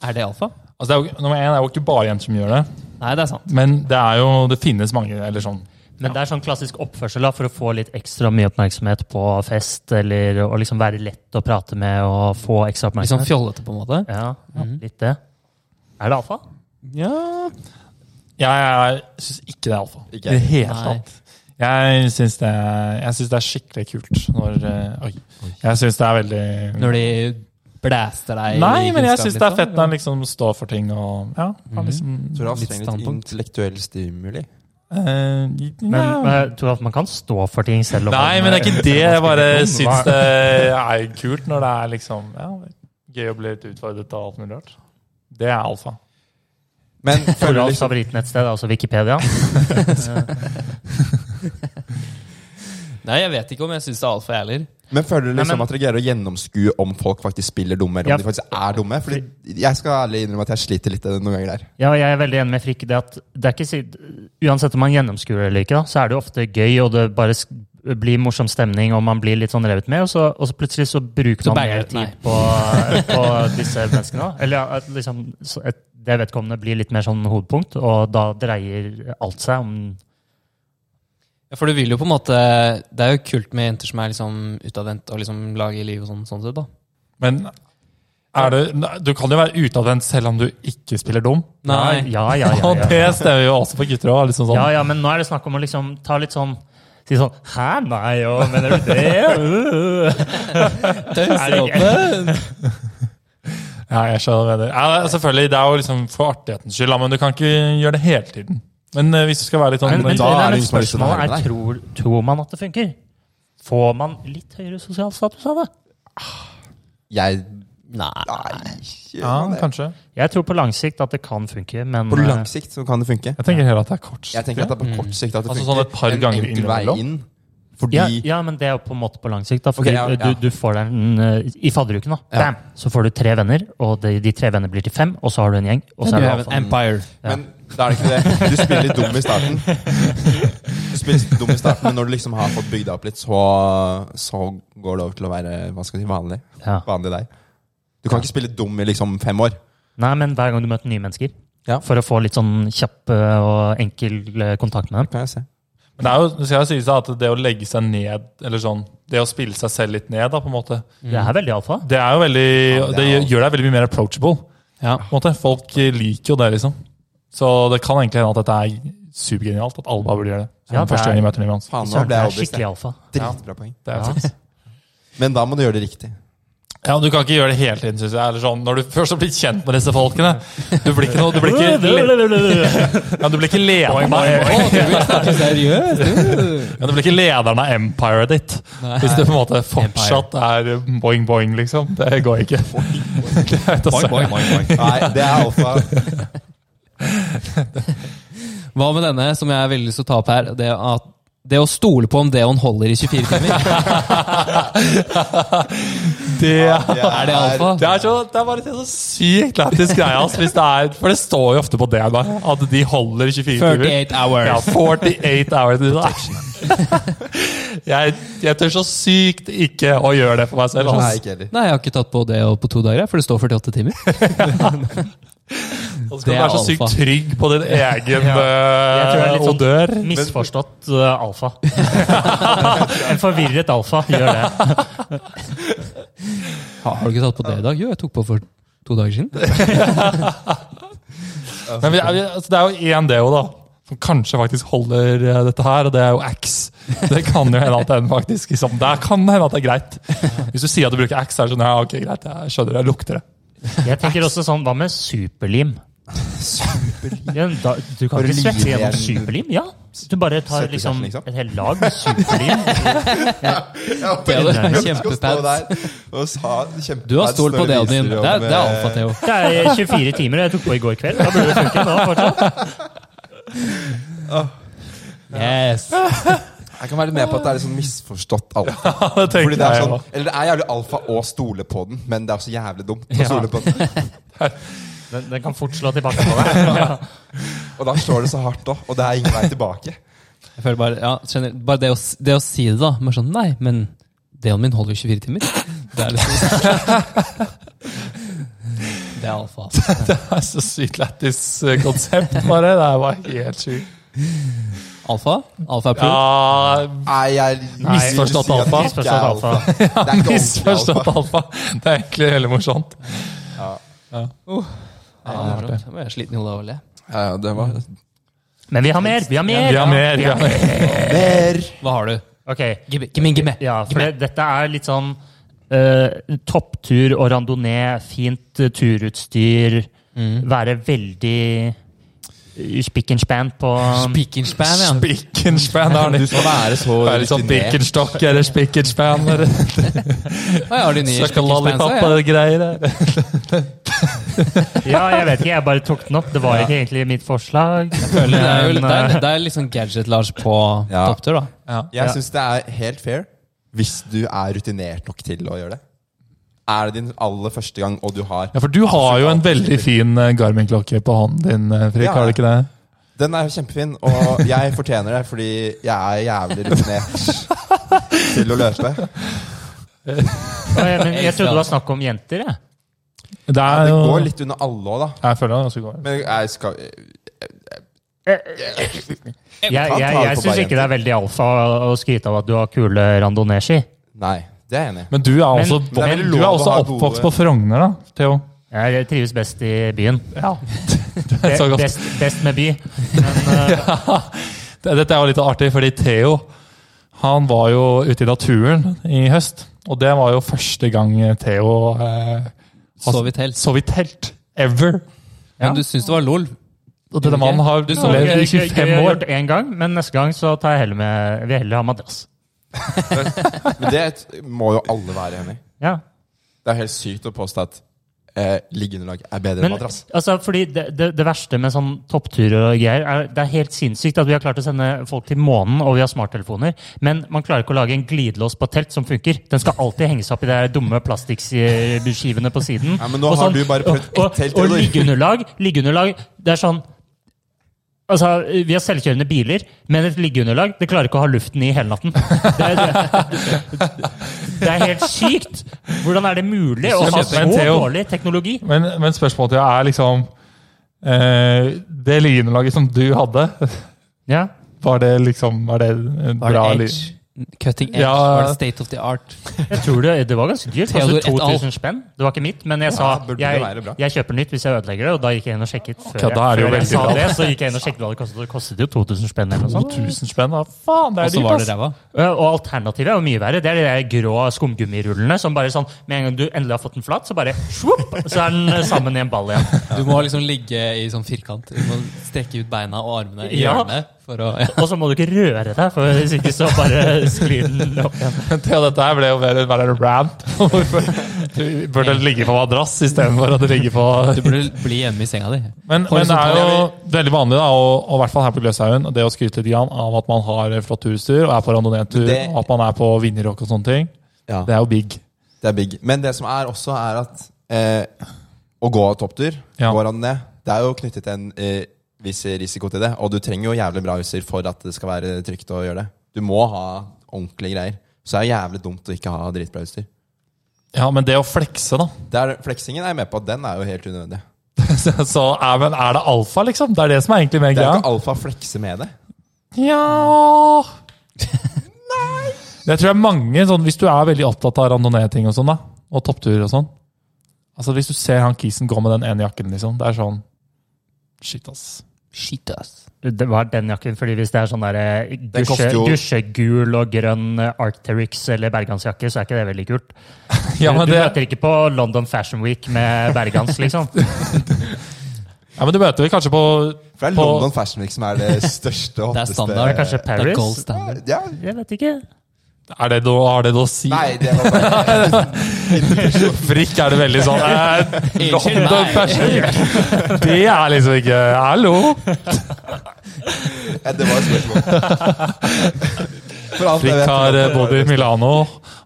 Speaker 1: er det alfa?
Speaker 4: Altså, det er jo, nummer én er jo ikke bare jenter som gjør det,
Speaker 1: Nei, det er sant.
Speaker 4: men det er jo, det finnes mange eller sånn.
Speaker 2: Men det er sånn klassisk oppførsel da, for å få litt ekstra mye oppmerksomhet på fest, eller å liksom være lett å prate med og få ekstra
Speaker 1: Litt sånn
Speaker 2: oppmerksomhet.
Speaker 1: fjollete, på en måte.
Speaker 2: Ja,
Speaker 4: Mhm.
Speaker 2: litt det. Er det alfa?
Speaker 1: Ja
Speaker 4: Jeg syns ikke det er alfa.
Speaker 3: Ikke
Speaker 4: I det
Speaker 3: jeg.
Speaker 4: hele
Speaker 1: Nei.
Speaker 4: tatt. Jeg syns det, er- jeg synes det er skikkelig kult når eh, Oi. Jeg syns det er veldig
Speaker 1: Når de blæster deg i
Speaker 4: Nei, men jeg
Speaker 1: kunnskap,
Speaker 4: syns det er
Speaker 1: liksom.
Speaker 4: fett når han liksom står for ting og Ja. Han liksom
Speaker 3: Tror du han
Speaker 1: Litt
Speaker 3: trenger litt
Speaker 1: standpunkt.
Speaker 3: intellektuell stimuli?
Speaker 4: eh,
Speaker 2: Men,
Speaker 4: ja.
Speaker 2: men tror du at man kan stå for ting selv om eh,
Speaker 4: Nei, men det er ikke det. Jeg bare
Speaker 2: Hva-
Speaker 4: syns det er kult når det er liksom ja, gøy å bli litt utfordret av alt mulig rart. Det er alfa.
Speaker 3: Men føler du
Speaker 2: Toralfs
Speaker 3: liksom
Speaker 2: favorittnettsted, altså Wikipedia.
Speaker 1: Nei, jeg vet ikke om jeg syns det er altfor jeg heller.
Speaker 3: Men føler du
Speaker 2: Nei,
Speaker 3: liksom
Speaker 2: men-
Speaker 3: at dere greier å gjennomskue om folk faktisk spiller dumme, eller om
Speaker 2: Ja.
Speaker 3: de faktisk er dumme? Fordi jeg skal ærlig innrømme at jeg sliter litt noen ganger der.
Speaker 2: Ja, jeg er veldig enig med Frikk. i Det at det er ikke, si- uansett om man gjennomskuer det eller ikke, da, så er det jo ofte gøy, og det bare sk- blir morsom stemning, og man blir litt sånn revet med, og så, og så plutselig så bruker
Speaker 1: Så
Speaker 2: man
Speaker 1: banger
Speaker 2: mer
Speaker 1: det. Nei.
Speaker 2: tid på, på disse menneskene. da. Eller ja, at liksom, så et, det vedkommende blir litt mer sånn hovedpunkt, og da dreier alt seg om
Speaker 1: Ja, For du vil jo på en måte Det er jo kult med jenter som er liksom utadvendt og liksom lager liv og sånn, sånn sett, da.
Speaker 4: Men er du, du kan jo være utadvendt selv om du ikke spiller dum.
Speaker 1: Nei.
Speaker 2: Ja, ja, ja.
Speaker 4: Og
Speaker 2: ja, ja.
Speaker 4: det stemmer jo også for gutter òg. Liksom sånn.
Speaker 2: Ja, ja, men nå er det snakk om å liksom ta litt sånn Si sånn Hæ, nei, jo, mener du det? Uh. Er det ikke-
Speaker 4: Ja, jeg skjønner hva du mener. Ja, det er- selvfølgelig, det er jo liksom for artighetens skyld, da, men du kan ikke gjøre det hele tiden. Men eh, hvis du skal være litt sånn
Speaker 2: Men, men,
Speaker 3: da
Speaker 2: men
Speaker 3: er det liksom sånn ingen som har lyst til å være
Speaker 2: spørsmålet
Speaker 3: med
Speaker 2: er
Speaker 3: deg.
Speaker 2: tror, tror man at det funker? Får man litt høyere sosial status av det?
Speaker 3: Jeg
Speaker 1: Nei.
Speaker 3: Nei. gjør
Speaker 4: Ja,
Speaker 3: man det?
Speaker 4: kanskje.
Speaker 2: Jeg tror på lang sikt at det kan funke, men eh,
Speaker 3: På lang sikt så kan det funke.
Speaker 4: Jeg tenker heller at det er kort.
Speaker 3: Jeg tenker at det er på kort sikt at det
Speaker 4: Altså
Speaker 3: funker.
Speaker 4: sånn et par
Speaker 3: En
Speaker 4: ganger
Speaker 3: enkel vei
Speaker 4: innimellom?
Speaker 3: inn.
Speaker 2: eh, ja,
Speaker 3: Fordi
Speaker 2: ja, men det er jo på en måte på lang sikt. Da, fordi
Speaker 3: Ok, ja, ja.
Speaker 2: Du, du får deg en eh, I fadderuken, da.
Speaker 3: Ja.
Speaker 2: Bam! Så får du tre venner, og de, de tre venner blir til fem, og så har du en gjeng. Og så er det alfa.
Speaker 1: Empire.
Speaker 3: Men da er det ikke det. Du spiller litt dum i starten. Du spiller litt dum i starten, Men når du liksom har fått bygd deg opp litt, så, så går det over til å være hva skal jeg si, vanlig.
Speaker 2: Ja.
Speaker 3: Vanlig deg. Du kan ikke spille dum i liksom fem år.
Speaker 2: Nei, men hver gang du møter nye mennesker.
Speaker 3: Ja.
Speaker 2: For å få litt sånn kjapp eh, og enkel eh, kontakt med dem.
Speaker 3: Kan jeg se.
Speaker 4: Men det er jo, det skal sies da, at det å legge seg ned, eller sånn, det å spille seg selv litt ned, da, på en måte,
Speaker 3: Mm.
Speaker 2: Det er veldig alfa.
Speaker 4: det er jo veldig,
Speaker 3: det
Speaker 4: det,
Speaker 3: er jo-
Speaker 4: gjør deg veldig mye mer approachable.
Speaker 1: Ja.
Speaker 4: På en måte. Folk liker jo det, liksom. Så det kan egentlig hende at dette er supergenialt, at alle bare burde gjøre det.
Speaker 2: Ja,
Speaker 4: Ja,
Speaker 2: det er-
Speaker 4: første gang de møter en mann.
Speaker 3: Faen, nå
Speaker 2: Søren, det
Speaker 3: ble
Speaker 2: er
Speaker 3: jeg overbevist.
Speaker 2: skikkelig alfa.
Speaker 3: Dritbra poeng.
Speaker 4: Det er
Speaker 2: Ja.
Speaker 4: jo sant.
Speaker 3: Men da må du gjøre det riktig.
Speaker 4: Ja, Du kan ikke gjøre det hele tiden, synes jeg. Eller sånn, når du først har blitt kjent med disse folkene. Du blir ikke noe, du blir ikke, le- ja, du blir ikke lederen av ja, Du blir ikke lederen av empiret ditt. Hvis du på en måte fortsatt er boing, boing, liksom. Det går ikke. Det er et å se.
Speaker 3: Nei, det er alfa.
Speaker 1: Hva med denne som jeg har veldig lyst til å ta opp her? Det, at, det å stole på om Deon holder i 24 timer.
Speaker 4: Det
Speaker 1: Er det alfa?
Speaker 4: Det er, så, det er bare en så sykt lættis greie. Altså, hvis det er, for det står jo ofte på det da, at de holder i 24 timer.
Speaker 1: 48 hours.
Speaker 4: Ja, 48 hours. i dag. Jeg, jeg tør så sykt ikke å gjøre det for meg selv.
Speaker 3: Nei,
Speaker 4: Altså.
Speaker 3: ikke heller.
Speaker 1: Nei, jeg har ikke tatt på det på to dager, for det står 48 timer.
Speaker 4: Altså,
Speaker 1: det
Speaker 4: skal Altså, du
Speaker 1: er
Speaker 4: være så sykt
Speaker 1: alfa.
Speaker 4: trygg på din egen
Speaker 2: Jeg tror det er
Speaker 4: eh,
Speaker 2: litt sånn
Speaker 4: odør.
Speaker 2: misforstått eh, alfa. en forvirret alfa gjør det.
Speaker 1: Har du ikke tatt på det i dag? Jo, jeg tok på for to dager siden.
Speaker 4: Men vi, er- vi, altså, det er jo én deo, da. Som kanskje faktisk holder eh, dette her, og det er jo Axe. Det kan jo hende at den faktisk liksom, Det kan hende at det er greit. Hvis du sier at du bruker Axe, er det sånn ja, ok, greit, jeg skjønner det, jeg lukter det.
Speaker 2: Jeg tenker også sånn, hva med superlim? Ja, da, du kan
Speaker 3: Bare
Speaker 2: ikke svette
Speaker 3: limer
Speaker 2: gjennom
Speaker 3: igjen.
Speaker 2: superlim? Ja. Du bare tar
Speaker 3: Svetter
Speaker 2: liksom
Speaker 3: kjeften, liksom.
Speaker 2: et helt lag med superlim.
Speaker 1: Det er jo
Speaker 3: Skal stå
Speaker 1: kjempepads.
Speaker 3: der og sa kjempe-
Speaker 1: Du har stolt på
Speaker 3: store
Speaker 1: Deon din.
Speaker 3: viser
Speaker 1: Det er, det er
Speaker 3: om, eh,
Speaker 1: alfa, Theo.
Speaker 2: Det er 24 timer, og jeg tok på i går kveld. Da burde det funke nå fortsatt.
Speaker 1: Yes.
Speaker 3: Jeg kan være med på at det er litt sånn misforstått alfa.
Speaker 4: Det
Speaker 3: Fordi
Speaker 4: tenker
Speaker 3: det er
Speaker 4: jeg
Speaker 3: sånn,
Speaker 4: også.
Speaker 3: eller det er jævlig alfa å stole på den, men det er også jævlig dumt å
Speaker 2: Ja.
Speaker 3: stole på den.
Speaker 2: Den, den kan fort slå tilbake på deg.
Speaker 3: Og da slår det så hardt òg, og det er ingen vei tilbake.
Speaker 1: Jeg føler bare, ja, skjønner, bare det, å, s- det å si det, da. Bare sånn Nei, men Deon min holder jo 24 timer. Det er liksom Det er alfa.
Speaker 4: Det er så sykt lættis eh, konsept, bare. Det er bare helt sjukt.
Speaker 1: Alfa? Alfa er pro?
Speaker 4: Ja,
Speaker 3: Nei, jeg
Speaker 4: Misforstått
Speaker 3: vil si at
Speaker 4: alfa.
Speaker 3: det ikke er
Speaker 2: Misforstått alfa.
Speaker 3: Det er ikke ordentlig alfa.
Speaker 4: misforstått alfa. Det er egentlig veldig morsomt.
Speaker 1: Ja, det er bra. Jeg er sliten i hodet av å le.
Speaker 3: Ja, ja, det var
Speaker 2: Men vi har mer! Vi har mer!
Speaker 4: Vi har mer. Vi har mer.
Speaker 3: Mer!
Speaker 1: Hva har du?
Speaker 2: Ok,
Speaker 1: Gimme, gimme, gimme.
Speaker 2: ja, for det, dette er litt sånn eh, topptur og randonee, fint eh, turutstyr, være veldig eh, spick and span på
Speaker 1: Spikkenspan, ja.
Speaker 4: Spikkenspan. det er
Speaker 3: Du
Speaker 4: nytt.
Speaker 3: skal være så
Speaker 4: Det er litt sånn
Speaker 3: rutinert.
Speaker 4: Birkenstock eller Spikkenspan. eller-
Speaker 1: Å, jeg har de nye
Speaker 4: Sucker
Speaker 1: spikkenspansa.
Speaker 4: lollipop-greier.
Speaker 2: Ja, jeg vet ikke, jeg bare tok den opp. Det var ikke egentlig mitt forslag.
Speaker 1: Det er jo
Speaker 2: Men,
Speaker 1: det er,
Speaker 2: eh,
Speaker 1: det er liksom Gadget-Lars på
Speaker 3: Ja.
Speaker 1: topptur, da.
Speaker 3: Jeg syns det er helt fair hvis du er rutinert nok til å gjøre det. Er det din aller første gang, og du har
Speaker 4: Ja, for du har jo en veldig
Speaker 3: Absolutt.
Speaker 4: fin eh, Garmin-klokke på hånden din, eh, Frik.
Speaker 3: Ja.
Speaker 4: Har du ikke det?
Speaker 3: Den er jo kjempefin, og jeg fortjener det fordi jeg er jævlig rutinert til å løpe.
Speaker 2: men jeg trodde det var snakk om jenter, jeg.
Speaker 4: Det er
Speaker 3: Det
Speaker 4: jo
Speaker 3: går litt under alle òg, da.
Speaker 4: Jeg føler det er ganske godt.
Speaker 3: Men jeg skal
Speaker 2: Jeg, jeg, jeg,
Speaker 3: ta det på
Speaker 2: syns
Speaker 3: bare
Speaker 2: ikke det er veldig alfa å skryte av at du har kule randonee-ski.
Speaker 3: Nei, det er jeg enig i.
Speaker 4: Men du er
Speaker 2: Men-
Speaker 4: også,
Speaker 2: men det er vel
Speaker 4: du
Speaker 3: lov
Speaker 4: er
Speaker 3: å
Speaker 4: også
Speaker 3: ha
Speaker 4: oppvokst
Speaker 3: gode-
Speaker 4: på Frogner, da, Theo.
Speaker 2: Jeg trives best i byen.
Speaker 4: Ja.
Speaker 2: Be,
Speaker 4: så godt.
Speaker 2: best, best med by. Men eh,
Speaker 4: Dette er jo litt artig, fordi Theo han var jo ute i naturen i høst. Og det var jo første gang Theo eh, har-
Speaker 1: Sov i telt.
Speaker 4: Sov i telt. Ever. Ja.
Speaker 1: Men du syns det var lol?
Speaker 4: Og denne mannen har
Speaker 1: Du sov
Speaker 4: levd i
Speaker 2: gøy- gøy- gøy
Speaker 4: 25
Speaker 2: å ha
Speaker 4: år.
Speaker 2: gjort det én gang, men neste gang så tar jeg heller med vil jeg heller ha madrass.
Speaker 3: Men det må jo alle være enig i.
Speaker 2: Ja.
Speaker 3: Det er helt sykt å påstå at eh, liggeunderlag er bedre enn
Speaker 2: Men
Speaker 3: madrass.
Speaker 2: altså, fordi det, det, det verste med sånn toppturer og greier, er, det er helt sinnssykt at vi har klart å sende folk til månen, og vi har smarttelefoner, men man klarer ikke å lage en glidelås på telt som funker. Den skal alltid henges opp i de der dumme plastikkskivene på siden.
Speaker 3: Ja, men nå
Speaker 2: Og sånn,
Speaker 3: har du bare prøvd
Speaker 2: og-
Speaker 3: ett telt,
Speaker 2: Og, og
Speaker 3: Theodor.
Speaker 2: liggeunderlag, liggeunderlag, det er sånn Altså, Vi har selvkjørende biler, men et liggeunderlag det klarer ikke å ha luften i hele natten. Det er, det, det er helt sykt! Hvordan er det mulig å ha så
Speaker 4: Men Theo-
Speaker 2: dårlig teknologi?
Speaker 4: Men, men spørsmålet til deg er liksom eh, Det linelaget som du hadde,
Speaker 2: Ja.
Speaker 4: var det liksom Var det en
Speaker 1: Var
Speaker 4: bra
Speaker 1: det
Speaker 4: li-
Speaker 1: edge? Cutting edge
Speaker 4: Ja.
Speaker 1: var det state of the art.
Speaker 2: Jeg tror det, det var ganske dyrt.
Speaker 1: Theodor et
Speaker 2: Kostet
Speaker 1: al.
Speaker 2: 2000 spenn. Det var ikke mitt, men jeg sa
Speaker 3: Ja, burde det være
Speaker 2: jeg,
Speaker 3: bra.
Speaker 2: jeg kjøper nytt hvis jeg ødelegger det. Og da gikk jeg inn og sjekket før,
Speaker 4: Ok, da er
Speaker 2: jeg, før
Speaker 4: det jo
Speaker 2: jeg
Speaker 4: veldig
Speaker 2: sa
Speaker 4: bra.
Speaker 2: det. Så gikk jeg inn og sjekket hva det kostet. og Det kostet jo 2000 spenn eller noe sånt.
Speaker 4: 2000 spenn, da. Faen,
Speaker 1: Og
Speaker 4: det er
Speaker 1: så
Speaker 4: dyrt,
Speaker 1: var det
Speaker 4: ass.
Speaker 1: ræva.
Speaker 2: Ja, Og alternativet er jo mye verre. Det er de der grå skumgummirullene som bare sånn Med en gang du endelig har fått den flat, så bare svopp, så er den eh, sammen i en ball igjen.
Speaker 1: Du må liksom ligge i sånn firkant. Du må strekke ut beina og armene i
Speaker 2: Ja.
Speaker 1: hjørnet. For å, ja.
Speaker 2: Og så må du ikke røre deg, for hvis ikke så bare sklir den opp igjen.
Speaker 4: Ja, dette her ble jo mer en bare en rant. Du Burde ligge på madrass istedenfor at det ligger på
Speaker 1: Du burde bli hjemme i senga di.
Speaker 4: Men, men det er jo veldig vanlig, da, og, og i hvert fall her på Gløshaugen, det å skryte litt grann av at man har flott turutstyr, og er på randoneetur,
Speaker 3: Det-
Speaker 4: og at man er på vinnerrock og sånne ting.
Speaker 3: Ja.
Speaker 4: Det er jo big.
Speaker 3: Det er big. Men det som er også, er at eh, å gå topptur,
Speaker 4: Ja.
Speaker 3: går han ned, det er jo knyttet en eh, viss risiko til det. Og du trenger jo jævlig bra utstyr for at det skal være trygt å gjøre det. Du må ha ordentlige greier. Så det er jævlig dumt å ikke ha dritbra utstyr.
Speaker 4: Ja, men det å flekse, da.
Speaker 3: Det er, fleksingen er jeg med på, den er jo helt unødvendig.
Speaker 4: Så er, men er det alfa, liksom? Det er det som er egentlig mer
Speaker 3: Det er jo
Speaker 4: greia.
Speaker 3: ikke alfa flekse med det.
Speaker 4: Ja Jeg tror det er mange sånn, Hvis du er veldig opptatt av randonee-ting og sånn, da, og toppturer og sånn Altså Hvis du ser han kisen gå med den ene jakken, liksom, det er sånn Shit, ass.
Speaker 1: Shit, ass.
Speaker 2: Det var den jakken, fordi hvis det er sånn der, eh, dusje,
Speaker 3: koster jo-
Speaker 2: dusjegul og grønn eh, Arcteryx eller bergansjakke, så er ikke det veldig kult.
Speaker 4: Ja, men
Speaker 2: du
Speaker 4: det,
Speaker 2: møter ikke på London Fashion Week med bergans, liksom.
Speaker 4: ja, men du møter vel kanskje på
Speaker 3: For det er
Speaker 4: På-
Speaker 3: London Fashion Week som er det
Speaker 1: Det
Speaker 3: største og
Speaker 1: er
Speaker 3: hotteste-
Speaker 1: standard.
Speaker 2: kanskje
Speaker 1: Det
Speaker 2: Paris?
Speaker 1: er gold standard.
Speaker 3: Ja.
Speaker 2: Jeg vet ikke.
Speaker 4: er det noe, Har det noe å si?
Speaker 3: Nei, det var bare
Speaker 4: Frikk er det veldig sånn eh,
Speaker 1: Unnskyld
Speaker 4: London
Speaker 1: meg.
Speaker 4: Fashion Week. Det er liksom ikke Hallo!
Speaker 3: Ja, Det var et spørsmål. For alt jeg
Speaker 4: Frikk
Speaker 3: vet-
Speaker 4: har eh, bodd i Milano.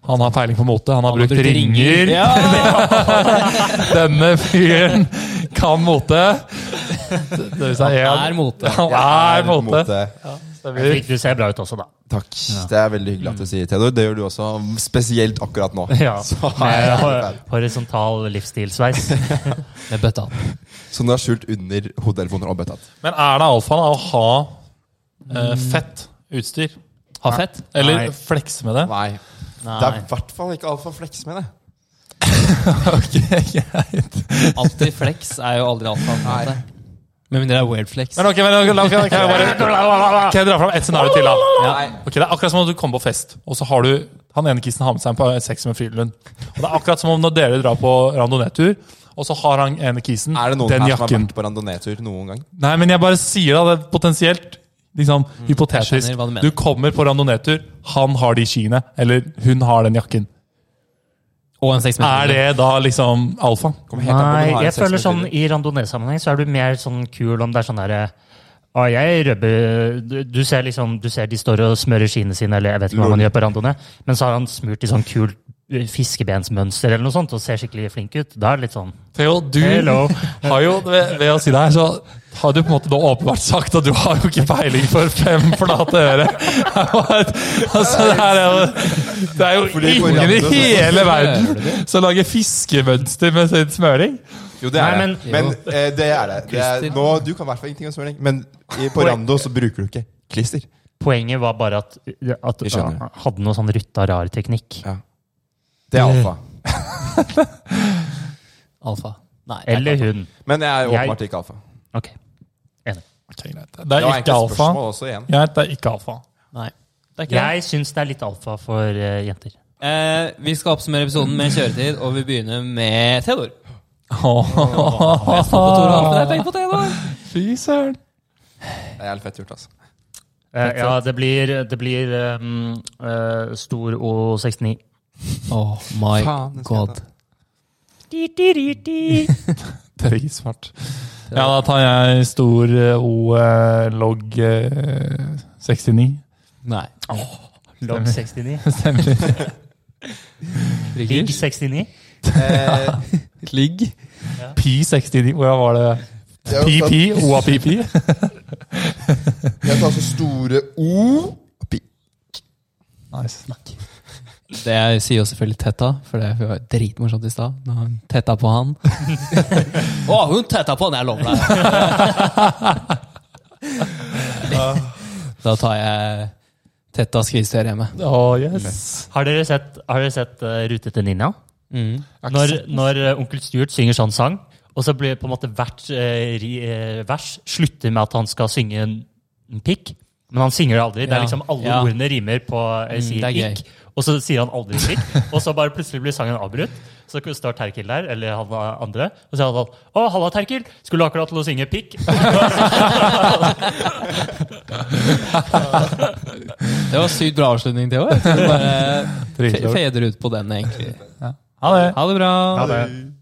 Speaker 4: Han har peiling på mote. Han har brukt ringer. Denne fyren kan mote. Det det vil si
Speaker 1: Han er
Speaker 4: én.
Speaker 1: mote.
Speaker 4: Han
Speaker 3: Jeg
Speaker 4: er mote. Stemmer.
Speaker 2: Fikk du ser bra ut også, da.
Speaker 3: Takk. Det er veldig hyggelig at du sier Theodor. Det gjør du også, spesielt akkurat nå.
Speaker 2: Ja.
Speaker 3: Så,
Speaker 2: Med
Speaker 3: er jeg
Speaker 2: ho- horisontal livsstilsveis.
Speaker 1: Med bøtta.
Speaker 3: Som du har skjult under hodetelefoner og bøtta.
Speaker 4: Men er det alfaen å ha eh, fett utstyr?
Speaker 1: Ha fett?
Speaker 4: Eller
Speaker 2: Nei.
Speaker 4: flekse med det?
Speaker 3: Nei. Det er i
Speaker 1: Nei.
Speaker 3: hvert fall ikke alfa fleks med det.
Speaker 1: Alltid flex er jo aldri alfa. på en måte. Med mindre det er weird flex.
Speaker 4: Men ok, men ok, ok, ok, jeg bare, kan jeg dra fram ett scenario til, da? Ok, Det er akkurat som om du kommer på fest, og så har du han ene kissen har med seg en på sex med Frydenlund. Og det er akkurat som om når dere drar på randoneetur, og så har han ene kissen
Speaker 3: Er det noen
Speaker 4: den
Speaker 3: her som har
Speaker 4: jakken.
Speaker 3: vært på randoneetur noen gang?
Speaker 4: Nei, men jeg bare sier da, det er potensielt liksom,
Speaker 1: Mm, jeg
Speaker 4: hypotetisk.
Speaker 1: skjønner hva du mener.
Speaker 4: Du, kommer på randoneetur, han har de skiene, eller hun har den jakken.
Speaker 1: Og en seks
Speaker 4: Er det da liksom alfa?
Speaker 3: Kommer helt an på om du
Speaker 2: Nei,
Speaker 3: har
Speaker 2: jeg
Speaker 3: sex med
Speaker 2: føler sånn
Speaker 3: kvinner.
Speaker 2: i randonee-sammenheng så er du mer sånn kul om det er sånn derre å, jeg røbber du, du ser liksom Du ser de står og smører skiene sine, eller jeg vet ikke hva man gjør på randonee, men så har han smurt i sånn kult eh, fiskebensmønster eller noe sånt og ser skikkelig flink ut. Da er det litt sånn
Speaker 4: Theo, du
Speaker 2: Hello.
Speaker 4: har jo, ved, ved å si det her, så har du på en måte nå åpenbart sagt at du har jo ikke peiling for fem flate øre. Altså, det, her er jo, det er jo
Speaker 3: Fordi på
Speaker 4: ingen i
Speaker 3: radio-
Speaker 4: hele verden som lager fiskemønster med sin smøring.
Speaker 3: Jo, det er
Speaker 2: Nei,
Speaker 3: det. Men eh, det er det. det er,
Speaker 1: Klister.
Speaker 3: nå, du kan i hvert fall ingenting om smøring, men i, på rando så bruker du ikke klister.
Speaker 2: Poenget var bare at, at
Speaker 3: Vi skjønner.
Speaker 2: han hadde noe sånn rutta rar teknikk.
Speaker 3: Det er alfa.
Speaker 1: Alfa. Nei. det er
Speaker 2: Eller
Speaker 1: ikke alfa.
Speaker 2: hun.
Speaker 3: Men jeg er jo
Speaker 2: Jeg-
Speaker 3: åpenbart ikke alfa.
Speaker 2: Ok.
Speaker 4: Ok, greit. Det
Speaker 3: Det var
Speaker 4: er ikke
Speaker 3: egentlig et
Speaker 4: alfa.
Speaker 3: spørsmål også igjen.
Speaker 4: Greit, det er ikke alfa.
Speaker 1: Nei. Det er ikke det.
Speaker 2: Jeg syns det er litt alfa for eh, jenter.
Speaker 1: Eh, vi skal oppsummere episoden med kjøretid, og vi begynner med Theodor.
Speaker 4: Fy søren.
Speaker 3: Det er jævlig fett gjort, altså.
Speaker 2: Eh, ja, det blir, det blir eh, mm, eh, stor O69.
Speaker 1: Oh my
Speaker 3: Faen, det skal jeg
Speaker 1: god.
Speaker 4: Drøysvart. Ja, da tar jeg stor eh, O eh, log eh, 69.
Speaker 1: Nei.
Speaker 2: Log 69. Big
Speaker 1: Rigger?
Speaker 2: 69.
Speaker 3: Eh,
Speaker 1: Ligg?
Speaker 4: P69, hvordan var det?
Speaker 3: det er jo
Speaker 4: PP?
Speaker 3: sånn-
Speaker 4: OAPP?
Speaker 3: Jeg tar så store O.
Speaker 4: Nice.
Speaker 1: Det sier jo selvfølgelig Tetta, for det var dritmorsomt i stad. Når han tetta på han. Å, hun tetta på han! Jeg lover deg! da tar jeg Tett av skrivestøy hjemme.
Speaker 4: Oh, yes.
Speaker 2: Har dere sett, har dere sett eh, Rute til Ninja?
Speaker 1: Mm.
Speaker 2: Når, når eh, onkel Stuart synger sånn sang, og så blir på en måte hvert eh, ri, eh, vers slutter med at han skal synge en, en pikk, men han synger det aldri. Det
Speaker 1: Ja.
Speaker 2: er liksom alle
Speaker 1: Ja.
Speaker 2: ordene rimer på eh,
Speaker 1: Mm,
Speaker 2: sier
Speaker 1: det er
Speaker 2: pikk, og så sier han aldri pikk, og så bare plutselig blir sangen avbrutt. Så står Terkel der, eller han andre, og så sier han sånn Å, halla, Terkel! Skulle akkurat til å synge pikk.
Speaker 1: Det var sykt bra avslutning, Theo. Jeg tror vi Bare fe- fader ut på den, egentlig.
Speaker 4: Ha det.
Speaker 1: Ha det bra.
Speaker 4: Ha det.